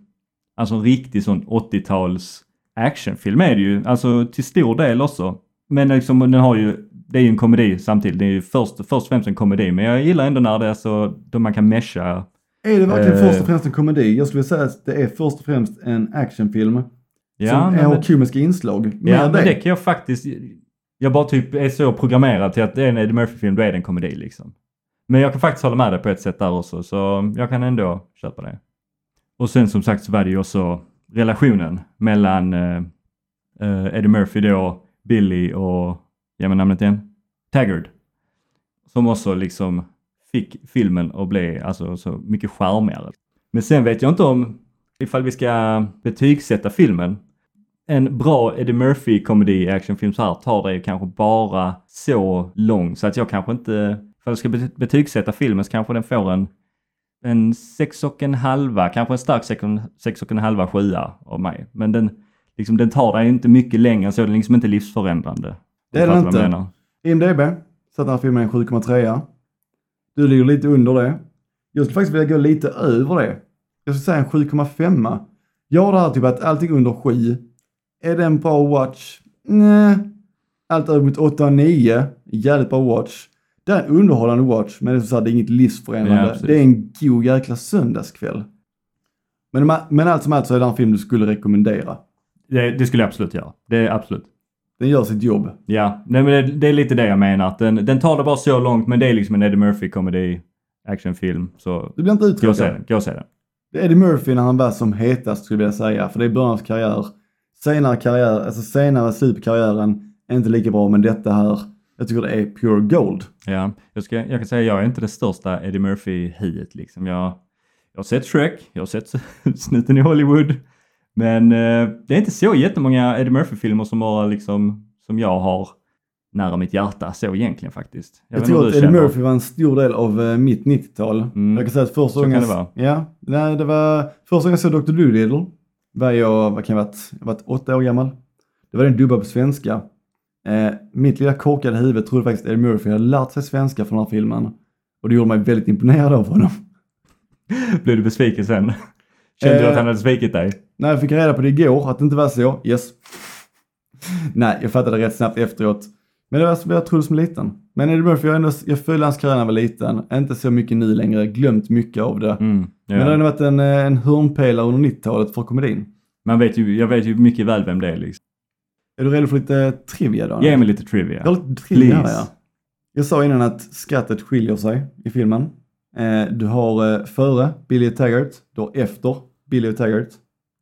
Speaker 2: alltså en riktig sån 80-tals actionfilm är det ju. Alltså till stor del också. Men liksom den har ju, det är ju en komedi samtidigt. Det är ju först, först och främst en komedi. Men jag gillar ändå när det är så, då man kan mesha.
Speaker 1: Är det verkligen
Speaker 2: Eh.
Speaker 1: först och främst en komedi? Jag skulle säga att det är först och främst en actionfilm
Speaker 2: Ja,
Speaker 1: som
Speaker 2: men,
Speaker 1: har komiska inslag. Mer
Speaker 2: ja, men det kan jag faktiskt, jag bara typ är så programmerad till att det är en Eddie Murphy-film, då är det en komedi liksom. Men jag kan faktiskt hålla med dig på ett sätt där också, så jag kan ändå köpa det. Och sen som sagt så var det ju också relationen mellan eh, eh, Eddie Murphy då, Billy och, jag menar namnet igen, Taggart. Som också liksom fick filmen att bli alltså, så mycket charmigare. Men sen vet jag inte om, ifall vi ska betygsätta filmen, en bra Eddie Murphy komedi actionfilm så här tar det ju kanske bara så lång så att jag kanske inte, för jag ska bet- betygsätta filmen så kanske den får en en sex och en halva, kanske en stark sex och en, sex och en halva sjua av mig. Men den, liksom, den tar dig inte mycket längre än så, den är liksom inte livsförändrande. Om
Speaker 1: Det är
Speaker 2: du
Speaker 1: den
Speaker 2: fattar vad jag
Speaker 1: inte.
Speaker 2: menar.
Speaker 1: IMDB satte den här filmen en 7,3. Du ligger lite under det. Jag skulle faktiskt vilja gå lite över det. Jag skulle säga en 7,5. Jag har det här typ att allting under 7. Är det en bra watch? Nej. Allt över mot 8 och 9. Jävligt bra watch. Det är en underhållande watch, men det är, som sagt, det är inget
Speaker 2: Ja,
Speaker 1: livsförändrande.
Speaker 2: precis.
Speaker 1: det är en god jäkla söndagskväll. Men, ma- men allt som allt så är det en film du skulle rekommendera.
Speaker 2: Det, det skulle jag absolut göra. Det är absolut.
Speaker 1: Den gör sitt jobb.
Speaker 2: Ja, nej, men det, det är lite det jag menar. Att den, den tar det bara så långt, men det är liksom en Eddie Murphy komedi actionfilm. Så
Speaker 1: Du blir inte
Speaker 2: gå och se
Speaker 1: uttråkad.
Speaker 2: den. Gå och se den.
Speaker 1: Det är Eddie Murphy när han var som hetast skulle jag vilja säga, för det är början av hans karriär. Senare karriär, alltså senare slut på karriären, är inte lika bra men detta här, jag tycker det är pure gold.
Speaker 2: Ja, jag, ska, jag kan säga jag är inte det största Eddie Murphy-hiet liksom. Jag, jag har sett Shrek, jag har sett *laughs* Snuten i Hollywood. Men eh, det är inte så jättemånga Eddie Murphy-filmer som, har, liksom, som jag har nära mitt hjärta så egentligen faktiskt.
Speaker 1: Jag,
Speaker 2: vet inte
Speaker 1: tror
Speaker 2: hur
Speaker 1: att
Speaker 2: du
Speaker 1: Eddie
Speaker 2: känner.
Speaker 1: Murphy var en stor del av eh, mitt 90-tal.
Speaker 2: Mm.
Speaker 1: Jag kan säga att första
Speaker 2: Så
Speaker 1: gången...
Speaker 2: kan det vara.
Speaker 1: Ja, nej, det var första gången jag såg Dr. Dolittle var jag, vad kan jag ha varit, jag var åtta år gammal. Det var den dubbad på svenska. Eh, mitt lilla korkade huvud trodde faktiskt Eddie Murphy hade lärt sig svenska från den här filmen. Och det gjorde mig väldigt imponerad av honom.
Speaker 2: Blev du besviken sen? *laughs* Kände du
Speaker 1: Eh,
Speaker 2: att han hade svikit dig?
Speaker 1: När jag fick reda på det igår, att det inte var så, yes. Nej, jag fattade rätt snabbt efteråt. Men det var som jag trodde som liten. Men Eddie Murphy, jag, ändå, jag följde hans karriär när jag var liten. Inte så mycket nu längre, glömt mycket av det.
Speaker 2: Mm, ja.
Speaker 1: Men det har ändå varit en, eh, en hörnpelare under 90-talet för komedin.
Speaker 2: Man vet ju, jag vet ju mycket väl vem det är liksom.
Speaker 1: Är du redo för lite trivia då?
Speaker 2: Ge mig lite trivia.
Speaker 1: Jag har lite trivia här,
Speaker 2: Please.
Speaker 1: ja. Jag sa innan att skrattet skiljer sig i filmen. Eh, du har eh, före Billy och Taggart, du har efter Billy och Taggart.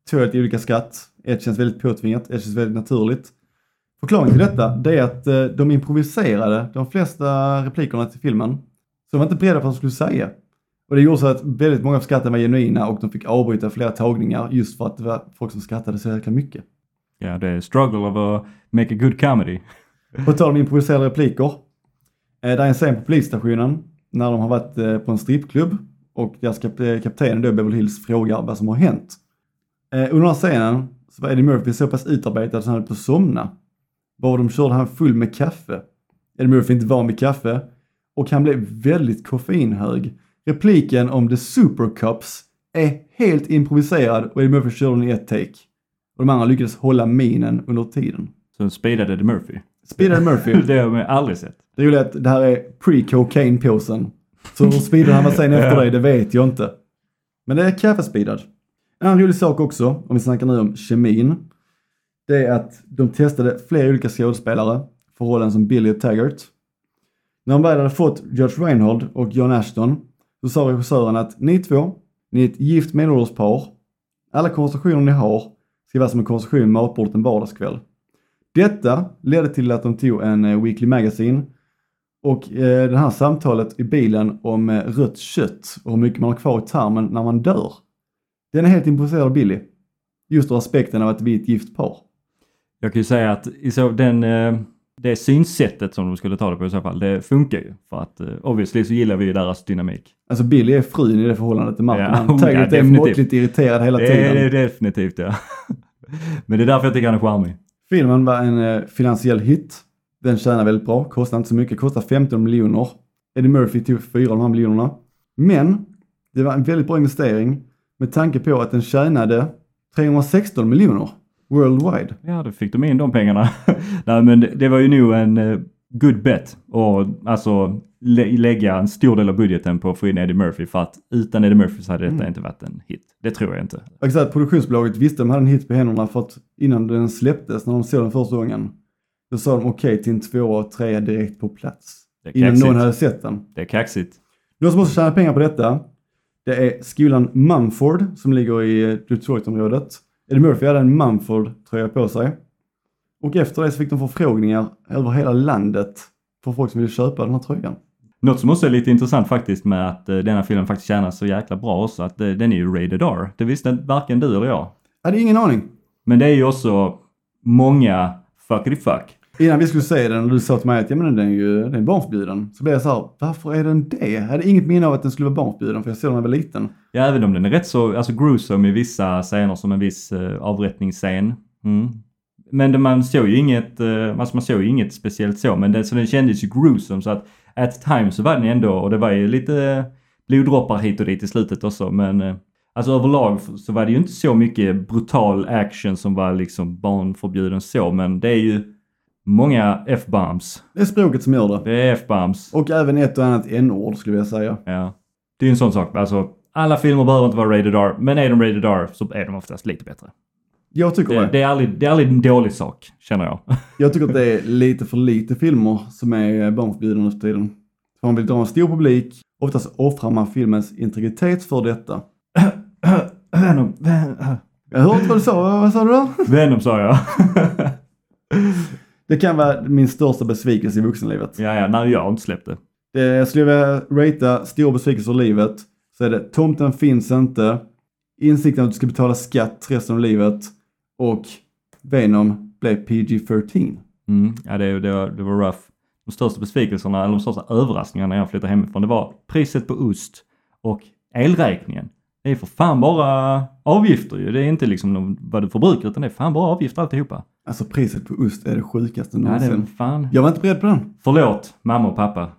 Speaker 1: Två helt olika skratt. Ett känns väldigt påtvingat, ett känns väldigt naturligt. Förklaringen till detta, det är att eh, de improviserade de flesta replikerna till filmen. Så de var inte beredda på vad de skulle säga. Och det gjorde så att väldigt många av skratten var genuina och de fick avbryta flera tagningar just för att det var folk som skrattade så jäkla mycket.
Speaker 2: Ja, det är struggle of a make a good comedy.
Speaker 1: På tal om improviserade repliker. Eh, där är en scen på polisstationen när de har varit eh, på en strippklubb och deras kap- eh, kapten då Beverly Hills frågar vad som har hänt. Eh, under den här scenen så var Eddie Murphy så pass utarbetad att han höll på att somna. Bara de körde han full med kaffe. Eddie Murphy är inte van vid kaffe och han blev väldigt koffeinhög. Repliken om The Super Cups är helt improviserad och Eddie Murphy körde den i ett take. Och de andra lyckades hålla minen under tiden.
Speaker 2: Så speedade Eddie Murphy.
Speaker 1: Speed Eddie Murphy.
Speaker 2: Det har jag aldrig sett.
Speaker 1: Det roliga är att det här är pre-cocaine-påsen. Så hur speedad han var sen efter dig, det vet jag inte. Men det är kaffespeedad. En annan rolig sak också, om vi snackar nu om kemin. Det är att de testade flera olika skådespelare för rollen som Billy och Taggart. När de väl hade fått George Reinhold och John Ashton så sa regissören att ni två, ni är ett gift medelålders par. Alla konversationer ni har ska vara som en konversation vid matbordet en vardagskväll. Detta ledde till att de tog en eh, Weekly Magazine och eh, det här samtalet i bilen om eh, rött kött och hur mycket man har kvar i tarmen när man dör. Den är helt improviserad av Billy. Just ur aspekten av att vi är ett gift par.
Speaker 2: Jag kan ju säga att i så den, eh, det synsättet som de skulle ta det på i så fall, det funkar ju. För att eh, obviously så gillar vi ju deras dynamik.
Speaker 1: Alltså Billy är frun i det förhållandet till Martin.
Speaker 2: *laughs* Ja,
Speaker 1: han
Speaker 2: ja,
Speaker 1: Taggart är
Speaker 2: definitivt.
Speaker 1: måttligt irriterad hela
Speaker 2: Det är
Speaker 1: tiden.
Speaker 2: det är definitivt ja. *laughs* Men det är därför jag tycker han är charmig.
Speaker 1: Filmen var en eh, finansiell hit. Den tjänar väldigt bra, kostar inte så mycket, kostar 15 miljoner. Eddie Murphy tog 4 av de här miljonerna. Men det var en väldigt bra investering med tanke på att den tjänade 316 miljoner worldwide.
Speaker 2: Ja, då fick de in de pengarna. *laughs* Nej, men det, det var ju nog en eh, good bet och alltså lä- lägga en stor del av budgeten på att få in Eddie Murphy för att utan Eddie Murphy så hade detta
Speaker 1: Mm.
Speaker 2: inte varit en hit. Det tror jag inte.
Speaker 1: Jag kan säga att produktionsbolaget visste att de hade en hit på händerna för att innan den släpptes, när de såg den första gången, då sa de okej till en tvåa och trea direkt på plats.
Speaker 2: Det är
Speaker 1: Innan
Speaker 2: kaxigt.
Speaker 1: någon hade sett den.
Speaker 2: Det är kaxigt.
Speaker 1: De som också tjänar pengar på detta, det är skolan Mumford som ligger i eh, Detroitområdet. Eddie Murphy hade en Mumford-tröja på sig. Och efter det så fick de förfrågningar över hela landet för folk som ville köpa den här tröjan.
Speaker 2: Något som också är lite intressant faktiskt med att eh, denna filmen faktiskt tjänar så jäkla bra också, att eh, den är ju rated R. Det visste varken du eller jag.
Speaker 1: Jag hade ingen aning.
Speaker 2: Men det är ju också många fuckity fuck.
Speaker 1: Innan vi skulle se den och du sa till mig att ja, men den är ju den är barnförbjuden. Så blev jag så här, varför är den det? Jag hade inget minne av att den skulle vara barnförbjuden för jag såg den när jag var liten.
Speaker 2: Ja, även om den är rätt så alltså gruesome i vissa scener, som en viss eh, avrättningsscen. Mm. Men det, man såg ju inget, eh, alltså man såg ju inget speciellt så, men det, så den kändes ju gruesome så att at times så var den ändå, och det var ju lite eh, bloddroppar hit och dit i slutet också, men eh, alltså överlag f- så var det ju inte så mycket brutal action som var liksom barnförbjuden så, men det är ju många F-bombs.
Speaker 1: Det är språket som gör det.
Speaker 2: Det är F-bombs.
Speaker 1: Och även ett och annat n-ord skulle jag säga.
Speaker 2: Ja. Det är ju en sån sak, alltså alla filmer behöver inte vara rated R, men är de rated R så är de oftast lite bättre.
Speaker 1: Jag tycker
Speaker 2: Det,
Speaker 1: det.
Speaker 2: det, är aldrig, det är aldrig en dålig sak, känner jag.
Speaker 1: Jag tycker att det är lite för lite filmer som är barnförbjudna nu för tiden. För man vill dra en stor publik, oftast offrar man filmens integritet för detta.
Speaker 2: *laughs* Venom,
Speaker 1: Jag hörde inte vad du sa, vad vad sa du där?
Speaker 2: *laughs* Venom sa jag. *laughs*
Speaker 1: Det kan vara min största besvikelse i vuxenlivet.
Speaker 2: ja, ja, nej, jag har inte släppt det.
Speaker 1: Det, jag skulle vilja ratea stor besvikelse i livet, så är det Tomten finns inte, Insikten att du ska betala skatt resten av livet och Venom blev PG-13.
Speaker 2: Mm, ja, det, det, var- det var rough. De största besvikelserna, eller de största överraskningarna när jag flyttade hemifrån, det var priset på ost och elräkningen. Det är för fan bara avgifter ju. Det är inte liksom någon- vad du förbrukar, utan det är fan bara avgifter alltihopa.
Speaker 1: Alltså priset på ost är det sjukaste
Speaker 2: Ja, det
Speaker 1: någonsin.
Speaker 2: är fan.
Speaker 1: Jag var inte beredd på den.
Speaker 2: Förlåt, mamma och pappa.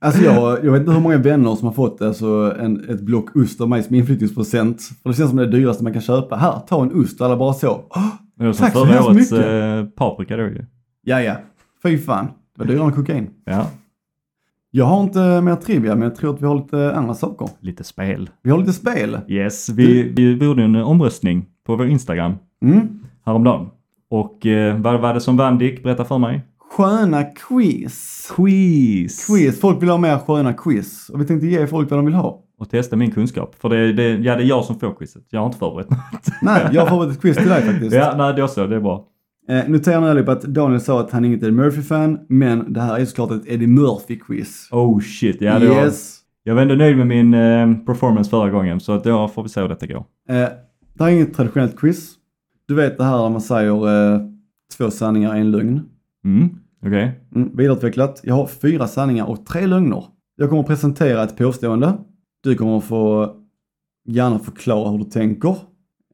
Speaker 1: Alltså jag, jag vet inte hur många vänner som har fått alltså en, ett block ost av mig som inflyttningspresent. För det känns som det dyraste man kan köpa. Här, ta en ost. Alla bara så. "Åh,
Speaker 2: Det var som
Speaker 1: Tack så
Speaker 2: förra
Speaker 1: hemskt
Speaker 2: årets
Speaker 1: mycket.
Speaker 2: eh, paprika då ju.
Speaker 1: Ja, ja. Fy fan. Det var dyrare än kokain.
Speaker 2: Ja,
Speaker 1: Jag har inte mer trivia, men jag tror att vi har lite andra saker.
Speaker 2: lite spel.
Speaker 1: Vi har lite spel.
Speaker 2: Yes, vi, vi gjorde en omröstning på vår Instagram
Speaker 1: Mm.
Speaker 2: häromdagen. Och eh, vad var det som vann Dick? Berätta för mig.
Speaker 1: Sköna quiz.
Speaker 2: Quiz!
Speaker 1: Quiz. Folk vill ha mer sköna quiz. Och vi tänkte ge folk vad de vill ha.
Speaker 2: Och testa min kunskap. För det, det, ja, det är jag som får quizet. Jag har inte förberett mig.
Speaker 1: Nej, jag har förberett ett quiz till dig faktiskt.
Speaker 2: Ja, nej, det är så. Det är bra.
Speaker 1: Eh, notera nu allihopa att Daniel sa att han är inget Eddie Murphy-fan, men det här är såklart ett Eddie Murphy-quiz.
Speaker 2: Oh shit, ja det var...
Speaker 1: yes.
Speaker 2: Jag var ändå nöjd med min eh, performance förra gången. Så att då får vi se hur detta går.
Speaker 1: Eh, det här är inget traditionellt quiz. Du vet det här när man säger eh, två sanningar, en lögn.
Speaker 2: Mm, okej.
Speaker 1: Mm, vidareutvecklat. Jag har fyra sanningar och tre lögner. Jag kommer presentera ett påstående. Du kommer få gärna förklara hur du tänker.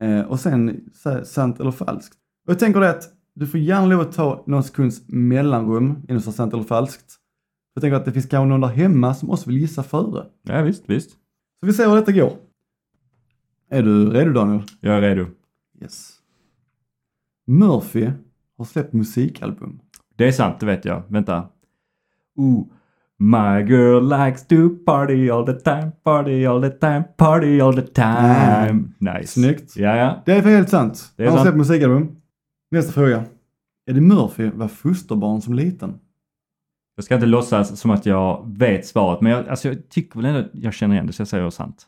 Speaker 1: Eh, och sen sa- sant eller falskt. Och jag tänker det att du får gärna lov att ta någon sekunds mellanrum innan du sa sant eller falskt. Jag tänker att det finns kanske någon där hemma som också vill gissa före.
Speaker 2: Ja, visst, visst.
Speaker 1: Så vi ser hur detta går. Är du redo Daniel?
Speaker 2: Jag är redo.
Speaker 1: Yes. Murphy har släppt musikalbum.
Speaker 2: Det är sant, det vet jag. Vänta. Ooh. My girl likes to party all the time, party all the time, party all the time. Nice.
Speaker 1: Snyggt.
Speaker 2: Ja, ja.
Speaker 1: Det är för helt sant.
Speaker 2: Det är
Speaker 1: Han har
Speaker 2: sant.
Speaker 1: släppt musikalbum. Nästa fråga. Eddie Murphy var fosterbarn som liten.
Speaker 2: Jag ska inte låtsas som att jag vet svaret, men jag, alltså, jag tycker väl ändå att jag känner igen det, så jag säger sant.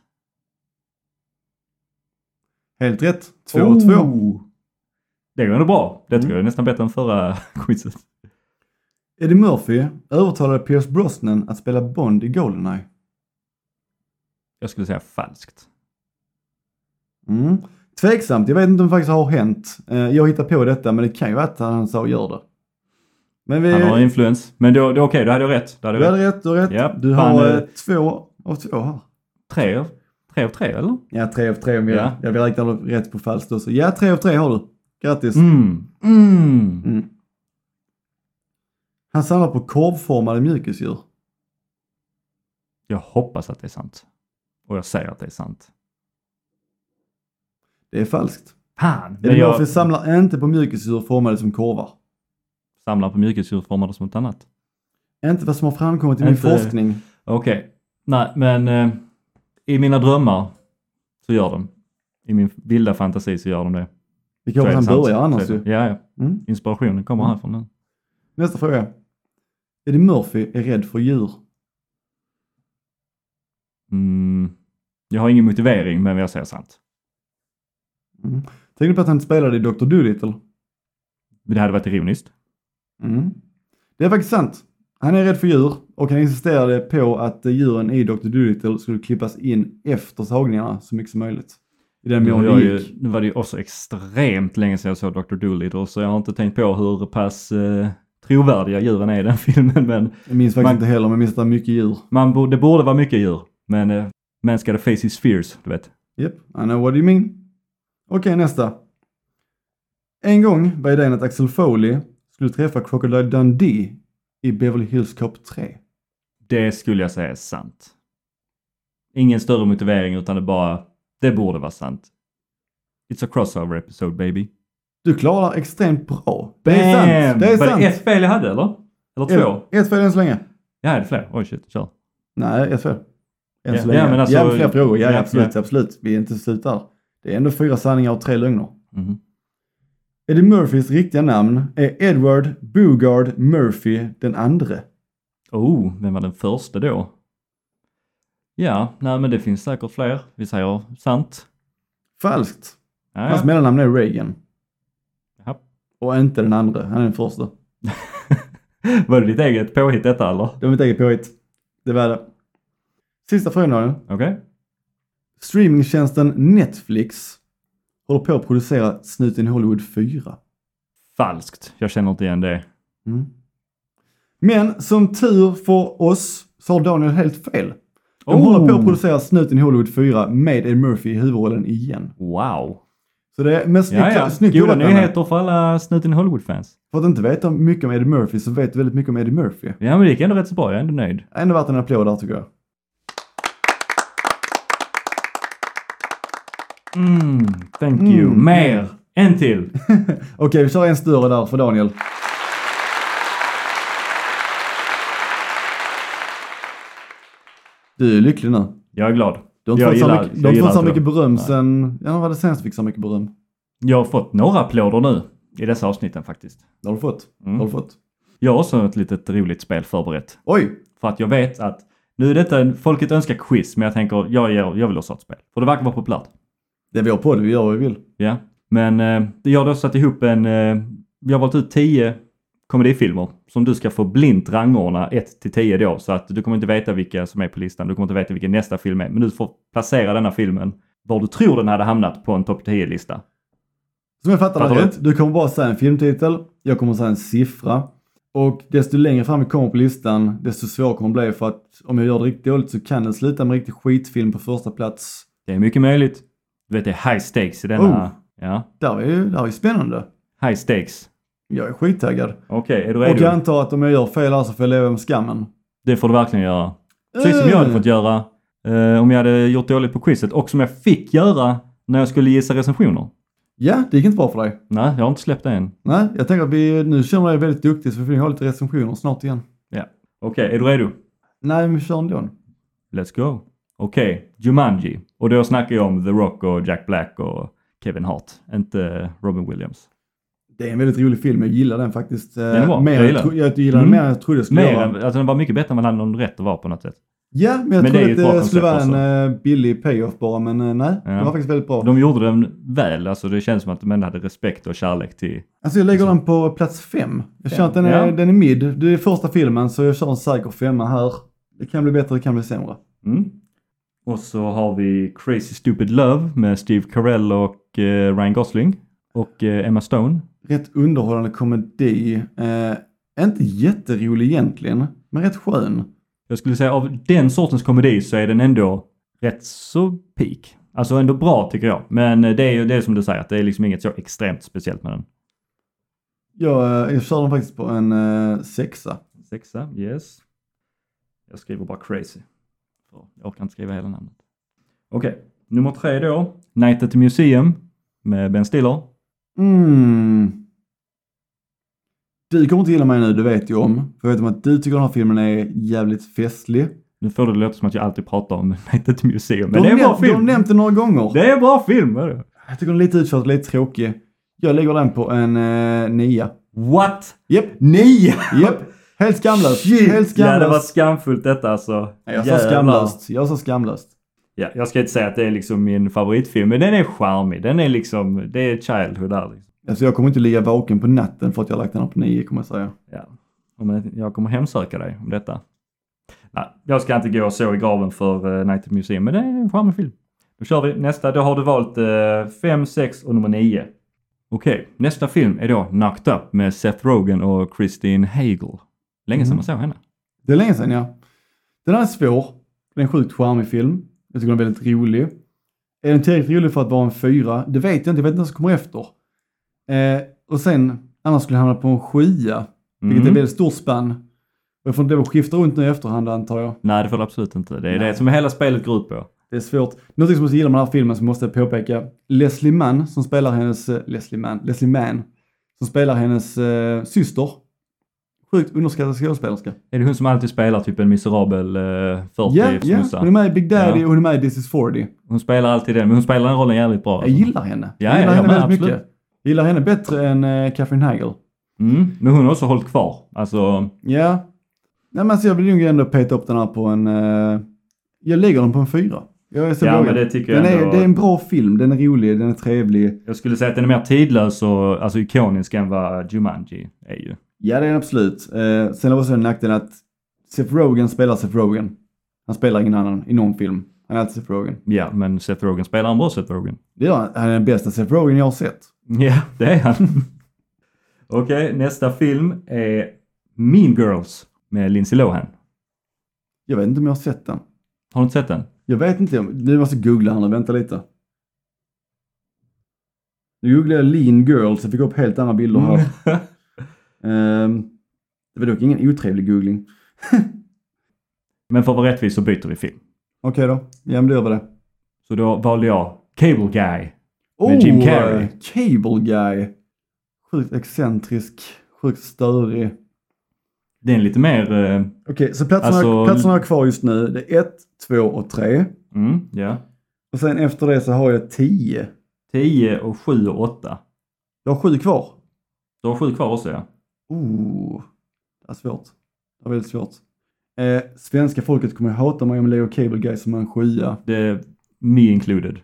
Speaker 1: Helt rätt. 2 och 2.
Speaker 2: Oh. Det går ändå bra. Det tycker
Speaker 1: Mm.
Speaker 2: jag är nästan bättre än förra *laughs* quizet.
Speaker 1: Eddie Murphy övertalade Pierce Brosnan att spela Bond i Goldeneye.
Speaker 2: Jag skulle säga falskt.
Speaker 1: Mm. Tveksamt. Jag vet inte om det faktiskt har hänt. Eh, Jag hittar på detta men det kan ju vara att han sa gör det. Men vi...
Speaker 2: Han har influens. Men då, då okej, då hade jag rätt. Då hade
Speaker 1: Du
Speaker 2: jag rätt.
Speaker 1: hade rätt, du har rätt.
Speaker 2: Eh. Ja,
Speaker 1: du
Speaker 2: fan,
Speaker 1: har
Speaker 2: eh,
Speaker 1: eh, två av två här.
Speaker 2: Tre av tre, av tre eller?
Speaker 1: Ja, tre av tre om jag,
Speaker 2: Ja.
Speaker 1: jag vill räkna rätt på falskt också. Ja, tre av tre har du. Grattis.
Speaker 2: Mm. Mm.
Speaker 1: Mm. Han samlar på korvformade mjukisdjur.
Speaker 2: Jag hoppas att det är sant. Och jag säger att det är sant.
Speaker 1: Det är falskt.
Speaker 2: Fan! Men
Speaker 1: Eddie
Speaker 2: jag
Speaker 1: Murphy samlar inte på mjukisdjur formade som korvar.
Speaker 2: samlar på mjukisdjur formade som något annat.
Speaker 1: Inte vad som har framkommit i min
Speaker 2: Inte-
Speaker 1: forskning.
Speaker 2: Okej. Nej, men eh, i mina drömmar så gör de. I min vilda fantasi så gör de det.
Speaker 1: Vi
Speaker 2: Så
Speaker 1: kan
Speaker 2: är
Speaker 1: han
Speaker 2: det sant.
Speaker 1: börjar annars
Speaker 2: Så är
Speaker 1: ju.
Speaker 2: det- Ja, ja.
Speaker 1: Mm.
Speaker 2: Inspirationen kommer
Speaker 1: Mm.
Speaker 2: härifrån nu.
Speaker 1: Nästa fråga. Eddie Murphy är rädd för djur.
Speaker 2: Mm. Jag har ingen motivering, men jag säger sant.
Speaker 1: Mm. Tänker du på att han spelade i Dr. Dolittle?
Speaker 2: Men det hade varit ironiskt.
Speaker 1: Mm. Det är faktiskt sant. Han är rädd för djur och han insisterade på att eh, djuren i Dr. Dolittle skulle klippas in efter sagningarna så mycket som möjligt. I den
Speaker 2: Nu
Speaker 1: mån det
Speaker 2: var, Mm, jag ju,
Speaker 1: gick.
Speaker 2: nu var det ju också extremt länge sedan jag såg Dr. Dolittle så jag har inte tänkt på hur pass eh, trovärdiga djuren är i den *laughs* filmen. Men
Speaker 1: Jag minns faktiskt
Speaker 2: Man-
Speaker 1: inte heller, men jag minns att det var mycket djur.
Speaker 2: man borde, det borde vara mycket djur. Men eh, man ska face his fears, du vet.
Speaker 1: Yep, I know what you mean. Okej, nästa. En gång var idén att Axel Foley skulle träffa Crocodile Dundee i Beverly Hills Cop 3.
Speaker 2: Det skulle jag säga är sant. Ingen större motivering utan det bara, det borde vara sant. It's a crossover episode baby.
Speaker 1: Du klarar extremt bra. Det är sant! Det är
Speaker 2: Var
Speaker 1: sant!
Speaker 2: det ett fel jag hade eller? Eller två?
Speaker 1: Ett, ett fel än så länge.
Speaker 2: Jag hade fler. Oj shit, kör.
Speaker 1: Nej, ett fel. Än
Speaker 2: Ja,
Speaker 1: så länge.
Speaker 2: ja, men alltså-
Speaker 1: ja, fler frågor. Ja,
Speaker 2: Ja,
Speaker 1: absolut, absolut. Vi är inte slut där. Det är ändå fyra sanningar och tre lögner.
Speaker 2: Mhm.
Speaker 1: Eddie Murphys riktiga namn är Edward Bogard Murphy den andre.
Speaker 2: Oh, vem var den första då? Ja, nej men det finns säkert fler. Vi säger sant.
Speaker 1: Falskt.
Speaker 2: Ja,
Speaker 1: Hans
Speaker 2: ja.
Speaker 1: mellannamn är Reagan.
Speaker 2: Japp.
Speaker 1: Och inte den andra, han är den första.
Speaker 2: Var det ditt eget påhitt detta eller?
Speaker 1: Det var mitt eget påhitt. Det var det. Sista frågan Daniel.
Speaker 2: Okej.
Speaker 1: Streamingtjänsten Netflix håller på att producera Snuten i Hollywood 4.
Speaker 2: Falskt. Jag känner inte igen det.
Speaker 1: Mm. Men som tur för oss så har Daniel helt fel. De
Speaker 2: Oh!
Speaker 1: håller på att producera Snuten i Hollywood 4 med Eddie Murphy i huvudrollen igen.
Speaker 2: Wow.
Speaker 1: Så det är men snyggt,
Speaker 2: Ja, ja.
Speaker 1: snyggt
Speaker 2: Goda
Speaker 1: jobbat Daniel.
Speaker 2: nyheter för alla Snuten i Hollywood-fans.
Speaker 1: För att inte veta mycket om Eddie Murphy så vet du väldigt mycket om Eddie Murphy.
Speaker 2: Ja, men det gick ändå rätt så bra. Jag är ändå nöjd.
Speaker 1: Ändå värt en applåd där tycker jag.
Speaker 2: Mm, thank you.
Speaker 1: Mm.
Speaker 2: Mer. En till.
Speaker 1: Okej, vi kör en större där för Daniel. Du är lycklig nu.
Speaker 2: Jag är glad.
Speaker 1: Du har inte
Speaker 2: Jag
Speaker 1: fått
Speaker 2: gillar-
Speaker 1: så mycket, du
Speaker 2: jag
Speaker 1: har inte
Speaker 2: gillar
Speaker 1: fått så
Speaker 2: inte
Speaker 1: mycket
Speaker 2: det.
Speaker 1: beröm
Speaker 2: Nej.
Speaker 1: sen... Ja, när var det senast du fick så mycket beröm?
Speaker 2: Jag har fått några applåder nu i dessa avsnitten faktiskt.
Speaker 1: Det har du fått. Det
Speaker 2: Mm.
Speaker 1: har du fått.
Speaker 2: Jag har också ett litet roligt spel förberett.
Speaker 1: Oj!
Speaker 2: För att jag vet att nu är detta en, folket önskar quiz, men jag tänker jag, jag, jag vill också ha ett spel. För det verkar vara populärt.
Speaker 1: Det är vår podd, vi gör vad vi vill.
Speaker 2: Ja, men eh, jag har då satt ihop en... Eh, jag har valt ut 10 komedifilmer som du ska få blint rangordna 1 till 10 då. Så att du kommer inte veta vilka som är på listan. Du kommer inte veta vilken nästa film är. Men du får placera denna filmen var du tror den hade hamnat på en topp 10-lista.
Speaker 1: Som jag fattar det
Speaker 2: Fattar du?
Speaker 1: rätt, du kommer bara säga en filmtitel, jag kommer säga en siffra. Och desto längre fram vi kommer på listan, desto svårare kommer det bli för att om jag gör det riktigt dåligt så kan det sluta med en riktig skitfilm på första plats.
Speaker 2: Det är mycket möjligt. Du vet det är high stakes i denna.
Speaker 1: Oh.
Speaker 2: Ja,
Speaker 1: Det här är ju det här är spännande.
Speaker 2: high stakes.
Speaker 1: Jag är skittaggad.
Speaker 2: Okej, är du
Speaker 1: Och
Speaker 2: redo?
Speaker 1: jag antar att om jag gör fel här så får jag leva med skammen. Eh,
Speaker 2: Det får du verkligen göra. Precis som jag hade fått göra eh, om jag hade gjort dåligt på quizet och som jag fick göra när jag skulle gissa recensioner.
Speaker 1: Ja, det gick inte bra för dig.
Speaker 2: Nej, jag har inte släppt det än.
Speaker 1: Nej, jag tänker att vi nu känner dig väldigt duktig så vi får ha lite recensioner snart igen.
Speaker 2: Okej, är du redo?
Speaker 1: Nej, men vi kör ändå.
Speaker 2: Let's go. Okej, Jumanji. Och då snackar jag om The Rock och Jack Black och Kevin Hart, inte Robin Williams.
Speaker 1: Det är en väldigt rolig film, jag gillar den faktiskt. Den
Speaker 2: är bra,
Speaker 1: mer
Speaker 2: jag
Speaker 1: jag,
Speaker 2: gillar
Speaker 1: tro- jag gillar den
Speaker 2: Mm.
Speaker 1: mer än jag trodde jag skulle
Speaker 2: Mer
Speaker 1: göra.
Speaker 2: än, alltså den var mycket bättre än vad han hade rätt att vara på något sätt.
Speaker 1: Ja, men jag
Speaker 2: Men det är
Speaker 1: trodde
Speaker 2: ju
Speaker 1: att
Speaker 2: ett bra
Speaker 1: det skulle vara
Speaker 2: koncept
Speaker 1: en eh, billig payoff bara, men eh, nej.
Speaker 2: Ja.
Speaker 1: Den var faktiskt väldigt bra.
Speaker 2: De gjorde den väl, alltså det känns som att de ändå hade respekt och kärlek till...
Speaker 1: Alltså jag lägger den på plats fem. Jag känner att den är,
Speaker 2: Ja.
Speaker 1: den är mid. Det är första filmen så jag kör en säker femma här. Det kan bli bättre, det kan bli sämre.
Speaker 2: Mm. Och så har vi Crazy Stupid Love med Steve Carell och eh, Ryan Gosling. Och eh, Emma Stone.
Speaker 1: Rätt underhållande komedi. Eh, inte jätterolig egentligen, men rätt skön.
Speaker 2: Jag skulle säga av den sortens komedi så är den ändå rätt så peak. Alltså ändå bra tycker jag. Men eh, det är ju det är som du säger, att det är liksom inget så extremt speciellt med den.
Speaker 1: Jag, eh, jag kör den faktiskt på en eh, sexa.
Speaker 2: Sexa, yes. Jag skriver bara crazy. För Jag orkar inte skriva hela namnet. Okej, nummer tre då. Night at the Museum med Ben Stiller.
Speaker 1: Mm. Du kommer inte gilla mig nu, det vet jag om. För jag vet om att du tycker den här filmen är jävligt festlig.
Speaker 2: Nu får det låta som att jag alltid pratar om *laughs* Night at the Museum, men
Speaker 1: de
Speaker 2: det är en bra
Speaker 1: näm- de
Speaker 2: film.
Speaker 1: har nämnt den några gånger.
Speaker 2: Det är en bra film! Är det?
Speaker 1: Jag tycker den är lite utkörd, lite tråkig. Jag lägger den på en eh, nia.
Speaker 2: What?
Speaker 1: Japp,
Speaker 2: Nej!
Speaker 1: japp. Helt skamlöst. Helt
Speaker 2: Shit! Ja, det var
Speaker 1: skamlöst.
Speaker 2: skamfullt detta alltså.
Speaker 1: jag sa
Speaker 2: Jävlar.
Speaker 1: skamlöst. Jag sa skamlöst.
Speaker 2: Ja, jag ska inte säga att det är liksom min favoritfilm, men den är charmig. Den är liksom, det är Childhood där liksom.
Speaker 1: Alltså jag kommer inte ligga vaken på natten för att jag har lagt den här på nio kommer jag säga.
Speaker 2: Ja. Om jag- Jag kommer hemsöka dig om detta. Nej, jag ska inte gå så i graven för eh, Night at the Museum, men det är en charmig film. Då kör vi nästa. Då har du valt 5, 6 och nummer 9. Okej, nästa film är då Knocked Up med Seth Rogen och Christine Hagel. Länge sedan
Speaker 1: Mm.
Speaker 2: man såg henne.
Speaker 1: Det är länge sedan ja. Den här är svår. Det är en sjukt charmig film. Jag tycker den är väldigt rolig. Är den tillräckligt rolig för att vara en fyra? Det vet jag inte. Jag vet inte vad som kommer efter. Eh, och sen, annars skulle jag hamna på en sjua. Vilket är
Speaker 2: Mm.
Speaker 1: ett väldigt stort spann. Och jag får inte lov att skifta runt nu i efterhand antar jag.
Speaker 2: Nej, det får du absolut inte. Det är
Speaker 1: Nej.
Speaker 2: det som hela spelet går ut på.
Speaker 1: Det är svårt. Någonting som jag gillar med den här filmen som måste jag påpeka. Leslie Mann som spelar hennes, eh, Leslie Mann, Leslie Mann, som spelar hennes eh, syster. Sjukt underskattad skådespelerska.
Speaker 2: Är det hon som alltid spelar typ en miserabel uh,
Speaker 1: Ja, ja.
Speaker 2: 40-snussa?
Speaker 1: Hon är med i Big Daddy
Speaker 2: Ja.
Speaker 1: och hon är med i This is 40.
Speaker 2: Hon spelar alltid den, men hon spelar den rollen jävligt bra. alltså.
Speaker 1: Jag gillar henne.
Speaker 2: Ja,
Speaker 1: jag
Speaker 2: ja,
Speaker 1: gillar
Speaker 2: ja,
Speaker 1: henne
Speaker 2: men
Speaker 1: väldigt
Speaker 2: absolut.
Speaker 1: mycket. Jag gillar henne bättre än eh, Catherine Hagel.
Speaker 2: Mm. Men hon har också hållit kvar. Alltså,
Speaker 1: Ja. Nej men alltså jag vill nog ändå peta upp den här på en... Eh, jag lägger den på en fyra. Jag är så
Speaker 2: ja
Speaker 1: vågad.
Speaker 2: men det tycker
Speaker 1: den
Speaker 2: jag
Speaker 1: är,
Speaker 2: ändå.
Speaker 1: det är en bra film, den är rolig, den är trevlig.
Speaker 2: Jag skulle säga att den är mer tidlös och alltså, ikonisk än vad Jumanji är ju.
Speaker 1: Ja, det är den absolut. Eh, sen har vi också den nackdelen att Seth Rogen spelar Seth Rogen. Han spelar ingen annan i någon film. Han är alltid Seth Rogen.
Speaker 2: Ja, men Seth Rogen spelar en bra Seth Rogen.
Speaker 1: Det gör han. Han är den bästa Seth Rogen jag har sett.
Speaker 2: Ja, det är han. *laughs* Okej, nästa film är Mean Girls med Lindsay Lohan.
Speaker 1: Jag vet inte om jag har sett den.
Speaker 2: Har du inte sett den?
Speaker 1: Jag vet inte om... Nu måste jag googla här nu, vänta lite. Nu googlade jag lean girls, jag fick upp helt andra bilder här. Ehm, det var dock ingen otrevlig googling.
Speaker 2: men för att vara rättvis så byter vi film.
Speaker 1: Okej då, ja men då gör vi det.
Speaker 2: Så då valde jag Cable Guy.
Speaker 1: Oh,
Speaker 2: Med Jim Carrey.
Speaker 1: eh, Cable Guy. Sjukt excentrisk, sjukt störig.
Speaker 2: Det är en lite mer... eh,
Speaker 1: Okej, så platserna,
Speaker 2: Alltså-
Speaker 1: platserna jag har kvar just nu, det är 1, 2 och 3.
Speaker 2: mm, ja.
Speaker 1: Och sen efter det så har jag 10.
Speaker 2: 10 och 7 och 8.
Speaker 1: Jag har 7 kvar.
Speaker 2: Du har 7 kvar också ja.
Speaker 1: Oh, det är svårt. Det är väldigt svårt. Eh, svenska folket kommer hata mig om jag lägger Cable Guy som en sjua.
Speaker 2: Det är me included.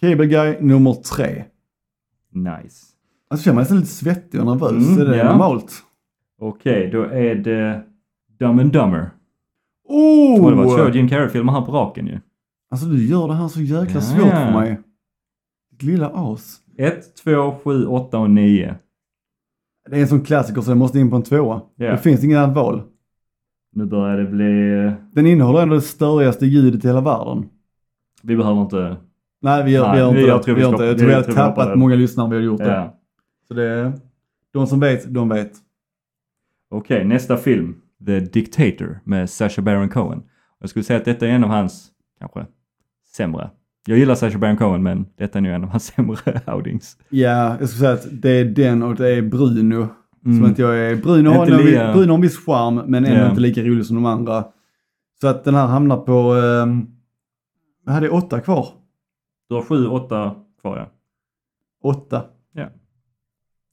Speaker 1: Cable Guy nummer 3.
Speaker 2: Nice.
Speaker 1: Alltså känner man sig lite svettig och nervös,
Speaker 2: Mm,
Speaker 1: är det
Speaker 2: ja.
Speaker 1: normalt?
Speaker 2: Okej, då är det Dumb and Dumber. Och det var två
Speaker 1: Oh!
Speaker 2: Jim Carrey-filmer här på raken ju.
Speaker 1: Alltså du gör det här så jäkla
Speaker 2: Ja.
Speaker 1: svårt för mig. Ditt lilla as.
Speaker 2: 1, 2, 7, 8 och 9.
Speaker 1: Det är en sån klassiker så jag måste in på en tvåa.
Speaker 2: Ja.
Speaker 1: Det finns inget annat val.
Speaker 2: Nu börjar det bli...
Speaker 1: Den innehåller ändå det störigaste ljudet i hela världen.
Speaker 2: Vi behöver inte
Speaker 1: Nej, vi gör,
Speaker 2: Nej,
Speaker 1: vi gör inte
Speaker 2: vi-
Speaker 1: det.
Speaker 2: jag tror vi
Speaker 1: vi gör
Speaker 2: stoppar-
Speaker 1: inte. det. Jag
Speaker 2: vi-
Speaker 1: tror vi har
Speaker 2: jag tror vi hoppar
Speaker 1: tappat
Speaker 2: över.
Speaker 1: många lyssnare om vi har gjort det.
Speaker 2: Ja.
Speaker 1: Så det är, de som vet, de vet.
Speaker 2: Okej, nästa film. The Dictator med Sacha Baron Cohen. Jag skulle säga att detta är en av hans, kanske, sämre. Jag gillar Sacha Baron Cohen men detta är nu en av hans *laughs* sämre outings.
Speaker 1: Ja, jag skulle säga att det är den och det är Bruno.
Speaker 2: Mm.
Speaker 1: Som inte jag är. Bruno
Speaker 2: Inte
Speaker 1: har, en,
Speaker 2: lika-
Speaker 1: Bruno har en viss charm men ändå
Speaker 2: Ja.
Speaker 1: inte lika rolig som de andra. Så att den här hamnar på... ehm, Jag hade åtta kvar.
Speaker 2: Du har sju, åtta kvar ja.
Speaker 1: Åtta.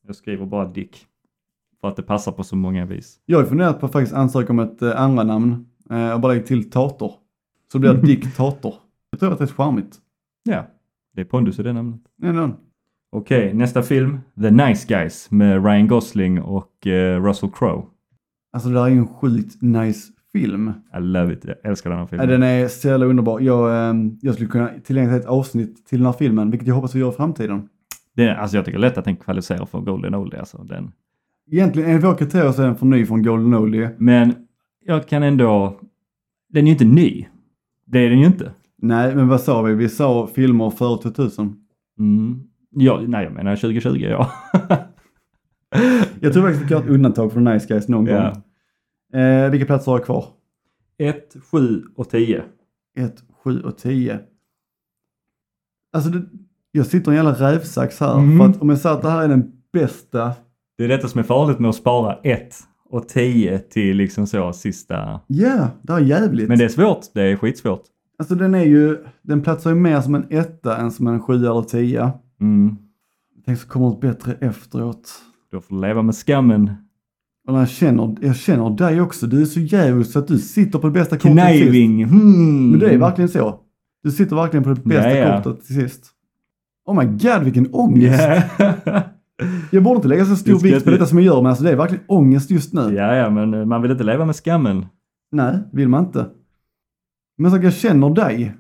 Speaker 2: Jag skriver bara Dick. För att det passar på så många vis.
Speaker 1: Jag har ju funderat på att faktiskt ansöka om ett eh, andra namn eh, och bara lägga till Tator. Så
Speaker 2: *laughs*
Speaker 1: blir det Diktator. Jag tror att det är charmigt.
Speaker 2: Ja, det är pondus i det namnet.
Speaker 1: Ändå.
Speaker 2: Okej, nästa film. The Nice Guys med Ryan Gosling och eh, Russell Crowe.
Speaker 1: Alltså det där är ju en sjukt nice film.
Speaker 2: I love it. Jag älskar den här
Speaker 1: Ja,
Speaker 2: filmen.
Speaker 1: Den är så jävla underbar. Jag, ehm, jag skulle kunna tillägna ett avsnitt till den här filmen, vilket jag hoppas vi gör i framtiden.
Speaker 2: Det, alltså jag tycker lätt att den kvalificerar för Golden Oldie. Alltså, den.
Speaker 1: Egentligen enligt våra kriterier så är den för ny från Golden Oldie.
Speaker 2: Men jag kan ändå... Den är ju inte ny. Det är den ju inte.
Speaker 1: Nej, men vad sa vi? Vi sa filmer före 2000.
Speaker 2: Mm. Ja, nej, jag menar 2020 ja.
Speaker 1: Jag tror faktiskt vi kan göra ett undantag från Nice Guys någon
Speaker 2: Ja.
Speaker 1: gång. Eh, vilka platser har jag kvar?
Speaker 2: 1, 7 och 10.
Speaker 1: 1, 7 och 10. Alltså, det, jag sitter i en jävla rävsax här.
Speaker 2: Mm.
Speaker 1: För att om jag säger att det här är den bästa.
Speaker 2: Det är detta som är farligt med att spara 1 och 10 till liksom så sista...
Speaker 1: Ja, det här är jävligt.
Speaker 2: Men det är svårt. Det är skitsvårt.
Speaker 1: Alltså den är ju, den platsar ju mer som en etta än som en 7 eller 10.
Speaker 2: Mm.
Speaker 1: Tänk så kommer ett bättre efteråt.
Speaker 2: Du får leva med skammen.
Speaker 1: Och jag känner, jag känner dig också. Du är så djävulsk så att du sitter på det bästa kortet till sist.
Speaker 2: Kniving. Hmm.
Speaker 1: Men det är verkligen så. Du sitter verkligen på det bästa
Speaker 2: Ja, ja.
Speaker 1: kortet till sist. Oh my god vilken ångest.
Speaker 2: Yeah.
Speaker 1: *laughs* Jag borde inte lägga så
Speaker 2: Du
Speaker 1: stor
Speaker 2: ska
Speaker 1: vikt på
Speaker 2: inte-
Speaker 1: detta som jag gör men alltså det är verkligen ångest just nu.
Speaker 2: ja, ja, men eh, man vill inte leva med skammen.
Speaker 1: Nej, vill man inte. Men så att jag känner dig.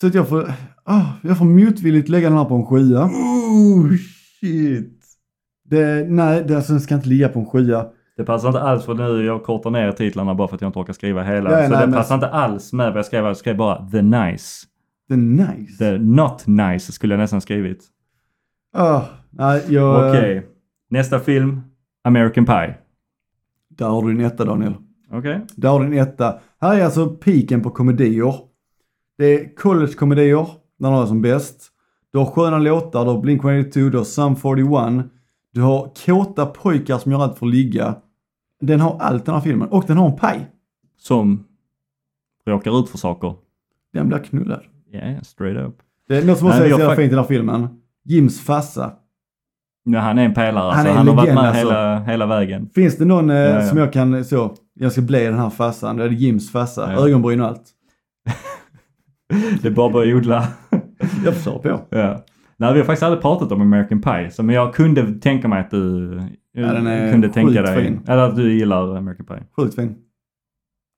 Speaker 1: Så att jag får, ah, jag får motvilligt lägga den här på en sjua.
Speaker 2: Oh shit.
Speaker 1: Det, nej, det, alltså, den ska inte ligga på en sjua.
Speaker 2: Det passar inte alls för nu jag kortar ner titlarna bara för att jag inte orkar skriva hela.
Speaker 1: Nej,
Speaker 2: så
Speaker 1: nej,
Speaker 2: det
Speaker 1: men-
Speaker 2: passar inte alls med vad jag skrev. Jag skrev bara the nice.
Speaker 1: The nice.
Speaker 2: The not nice skulle jag nästan skrivit.
Speaker 1: Ah, nej, jag...
Speaker 2: Okej. Nästa film. American Pie.
Speaker 1: Där har du din etta Daniel.
Speaker 2: Okej.
Speaker 1: Där har du din etta. Här är alltså piken på komedier. Det är collegekomedier, när de är som bäst. Du har sköna låtar, du har Blink-182, du har Sum 41. Du har kåta pojkar som gör allt för att ligga. Den har allt den här filmen. Och den har en paj.
Speaker 2: Som råkar ut för saker.
Speaker 1: Den blir knullad.
Speaker 2: Ja, yeah, straight up.
Speaker 1: Det är något som också
Speaker 2: Nej,
Speaker 1: är
Speaker 2: jag
Speaker 1: så jävla
Speaker 2: fack-
Speaker 1: fint i den här filmen. Jims farsa.
Speaker 2: Nu, han är en pelare.
Speaker 1: Han
Speaker 2: Han,
Speaker 1: är en
Speaker 2: han har varit med
Speaker 1: legend, alltså.
Speaker 2: hela, hela vägen. *laughs*
Speaker 1: Finns det någon eh,
Speaker 2: Ja, ja.
Speaker 1: som jag kan eh, så, jag ska bli den här farsan. Det är Jims farsa.
Speaker 2: Ja, ja.
Speaker 1: Ögonbryn och allt.
Speaker 2: Det är bara att börja odla. *laughs*
Speaker 1: Jag förstår på.
Speaker 2: Ja. Nej, vi har faktiskt aldrig pratat om American Pie, så, men jag kunde tänka mig att du
Speaker 1: Ja, den är
Speaker 2: kunde tänka dig,
Speaker 1: skitfin.
Speaker 2: eller att du gillar American Pie.
Speaker 1: Sjukt fin.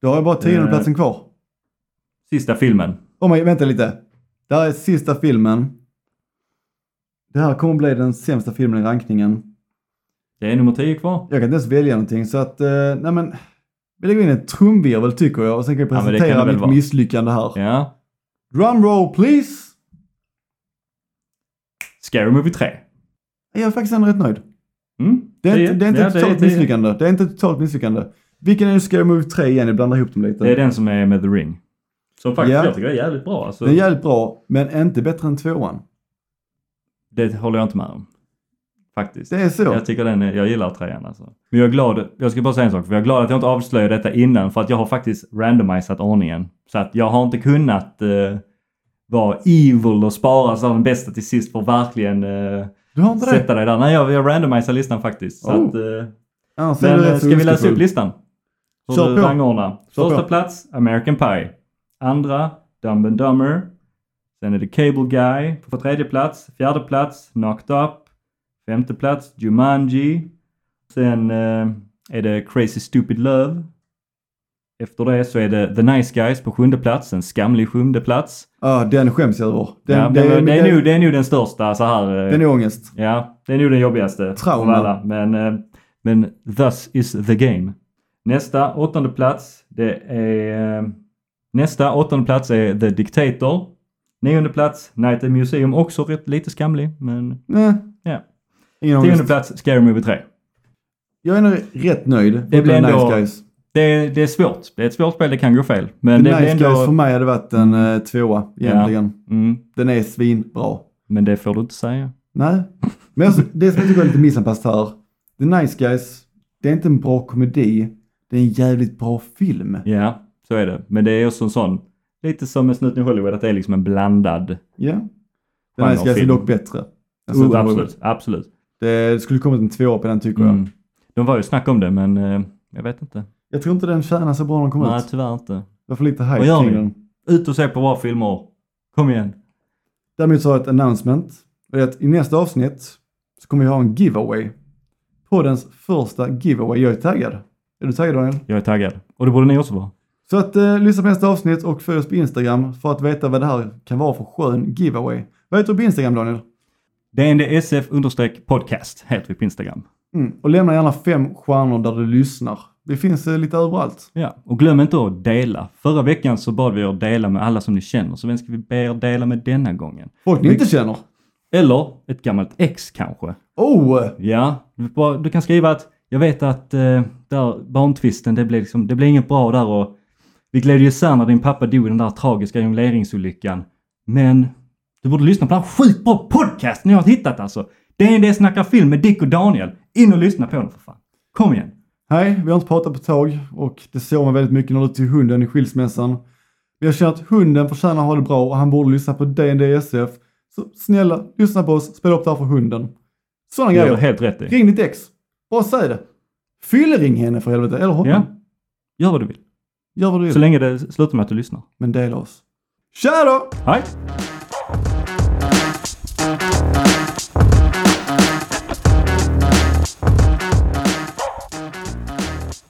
Speaker 1: Då har jag bara
Speaker 2: Eh.
Speaker 1: tiondeplatsen kvar.
Speaker 2: Sista filmen.
Speaker 1: Oh my, vänta lite. Det här är sista filmen. Det här kommer bli den sämsta filmen i rankningen.
Speaker 2: Det är nummer 10 kvar.
Speaker 1: Jag kan inte ens välja någonting så att, eh, nej men. Vi lägger in en trumvirvel tycker jag och sen kan jag
Speaker 2: Ja, men det kan
Speaker 1: presentera
Speaker 2: det väl
Speaker 1: mitt
Speaker 2: vara.
Speaker 1: misslyckande här.
Speaker 2: Ja.
Speaker 1: Drumroll please!
Speaker 2: Scary Movie 3.
Speaker 1: Jag är faktiskt ändå rätt nöjd.
Speaker 2: Mm?
Speaker 1: Det är, inte,
Speaker 2: tio.
Speaker 1: det är inte
Speaker 2: Ja,
Speaker 1: ett
Speaker 2: det är-
Speaker 1: totalt
Speaker 2: det är-
Speaker 1: misslyckande. Det är inte ett totalt misslyckande. Vilken är nu Scary Movie 3 igen? Jag blandar ihop dem lite.
Speaker 2: Det är den som är med The Ring. Som faktiskt
Speaker 1: Ja.
Speaker 2: jag tycker är jävligt bra. Alltså,
Speaker 1: Den är jävligt bra, men inte bättre än tvåan.
Speaker 2: Det håller jag inte med om. Faktiskt.
Speaker 1: Det är så.
Speaker 2: Jag tycker den är, jag gillar trean alltså. Men jag är glad, jag ska bara säga en sak, för jag är glad att jag inte avslöjade detta innan för att jag har faktiskt randomiserat ordningen. Så att jag har inte kunnat eh, vara evil och spara så den bästa till sist för att verkligen eh,
Speaker 1: Du har inte det?
Speaker 2: sätta dig där. Nej, jag, jag randomiserar listan faktiskt. Så
Speaker 1: Oh.
Speaker 2: att, eh,
Speaker 1: Annars är
Speaker 2: men
Speaker 1: du
Speaker 2: eh,
Speaker 1: rätt så
Speaker 2: ska vi läsa
Speaker 1: ondskefull.
Speaker 2: upp listan?
Speaker 1: Kör
Speaker 2: Så du
Speaker 1: på.
Speaker 2: rangordnar.
Speaker 1: Kör
Speaker 2: Första
Speaker 1: på.
Speaker 2: plats, American Pie. Andra, Dumb and Dumber. Sen är det Cable Guy på tredje plats. Fjärde plats, Knocked Up. Femte plats, Jumanji. Sen eh, är det Crazy Stupid Love. Efter det så är det The Nice Guys på sjunde plats, en skamlig sjunde plats.
Speaker 1: Ja, den skäms jag över. Den,
Speaker 2: ja, eh,
Speaker 1: det,
Speaker 2: det, det, är
Speaker 1: det-
Speaker 2: nog, det är nog den största så här. eh,
Speaker 1: den är ångest.
Speaker 2: Ja, det är nog den jobbigaste
Speaker 1: Trauma.
Speaker 2: av alla. Men, eh, men thus is the game. Nästa åttonde plats, det är... eh, Nästa åttonde plats är The Dictator. Nionde plats, Night at the Museum, också rätt, lite skamlig, men
Speaker 1: Nej.
Speaker 2: Ja.
Speaker 1: Ingen
Speaker 2: tionde
Speaker 1: ångest.
Speaker 2: plats, Scary Movie 3.
Speaker 1: Jag är nog rätt nöjd.
Speaker 2: Det blir
Speaker 1: Utan
Speaker 2: ändå-
Speaker 1: nice guys.
Speaker 2: Det är, det är svårt. Det är ett svårt spel, det kan gå fel. Men det
Speaker 1: nice
Speaker 2: blir
Speaker 1: guys för
Speaker 2: ändå...
Speaker 1: mig hade varit en eh, tvåa egentligen.
Speaker 2: Mm,
Speaker 1: Den är svinbra.
Speaker 2: men det får du inte säga.
Speaker 1: Nej, men alltså, det som jag tycker är lite missanpassat här. The Nice Guys, det är inte en bra komedi. Det är en jävligt bra film.
Speaker 2: Ja, så är det. Men det är också en sån, lite som en snuten i Hollywood, att det är liksom en blandad...
Speaker 1: Ja. The
Speaker 2: Genrefilm.
Speaker 1: Nice Guys är dock bättre. Alltså,
Speaker 2: oh,
Speaker 1: det-
Speaker 2: absolut, absolut.
Speaker 1: Det skulle kommit en tvåa på den tycker jag.
Speaker 2: Mm. De var ju snack om det, men eh, jag vet inte.
Speaker 1: Jag tror inte den tjänar så bra när den kom
Speaker 2: Nej,
Speaker 1: ut.
Speaker 2: tyvärr inte.
Speaker 1: Det var för lite
Speaker 2: Vad
Speaker 1: hype
Speaker 2: gör
Speaker 1: kring
Speaker 2: ni?
Speaker 1: den.
Speaker 2: Ut och se på bra filmer. Kom igen.
Speaker 1: Däremot så har jag ett announcement. Och det är att i nästa avsnitt så kommer vi ha en giveaway. Poddens första giveaway. Jag är taggad. Är du taggad Daniel?
Speaker 2: Jag är taggad. Och det borde ni också vara.
Speaker 1: Så att eh, lyssna på nästa avsnitt och följ oss på Instagram för att veta vad det här kan vara för skön giveaway. Vad heter du på Instagram Daniel?
Speaker 2: DNDSF-podcast heter vi på Instagram.
Speaker 1: Mm. Och lämna gärna fem stjärnor där du lyssnar. Vi finns eh, lite överallt.
Speaker 2: Ja, och glöm inte att dela. Förra veckan så bad vi er dela med alla som ni känner, så vem ska vi be er dela med denna gången?
Speaker 1: Folk ni inte känner.
Speaker 2: Eller ett gammalt ex kanske.
Speaker 1: Oh!
Speaker 2: Ja, du, bara- du kan skriva att jag vet att eh, där barntvisten, det blev, liksom, det blev inget bra där och vi gled ju isär när din pappa dog i den där tragiska jongleringsolyckan. Men du borde lyssna på den här sjukt bra podcasten ni har hittat alltså. Det är det snackar film med Dick och Daniel. In och lyssna på den för fan. Kom igen.
Speaker 1: Hej, vi har inte pratat på ett tag och det såg man väldigt mycket när du tog hunden i skilsmässan. Men jag känner att hunden förtjänar att ha det bra och han borde lyssna på D&D SF. Så snälla, lyssna på oss, spela upp det här för hunden. Sådana
Speaker 2: Det gör du
Speaker 1: grejer.
Speaker 2: helt rätt i.
Speaker 1: Ring ditt ex. Bara säg det. Fyllering henne för helvete, eller honom.
Speaker 2: Ja. Gör vad du vill.
Speaker 1: Gör vad du
Speaker 2: Så
Speaker 1: vill,
Speaker 2: länge det slutar med att du lyssnar.
Speaker 1: men dela oss. Tja då!
Speaker 2: Hej!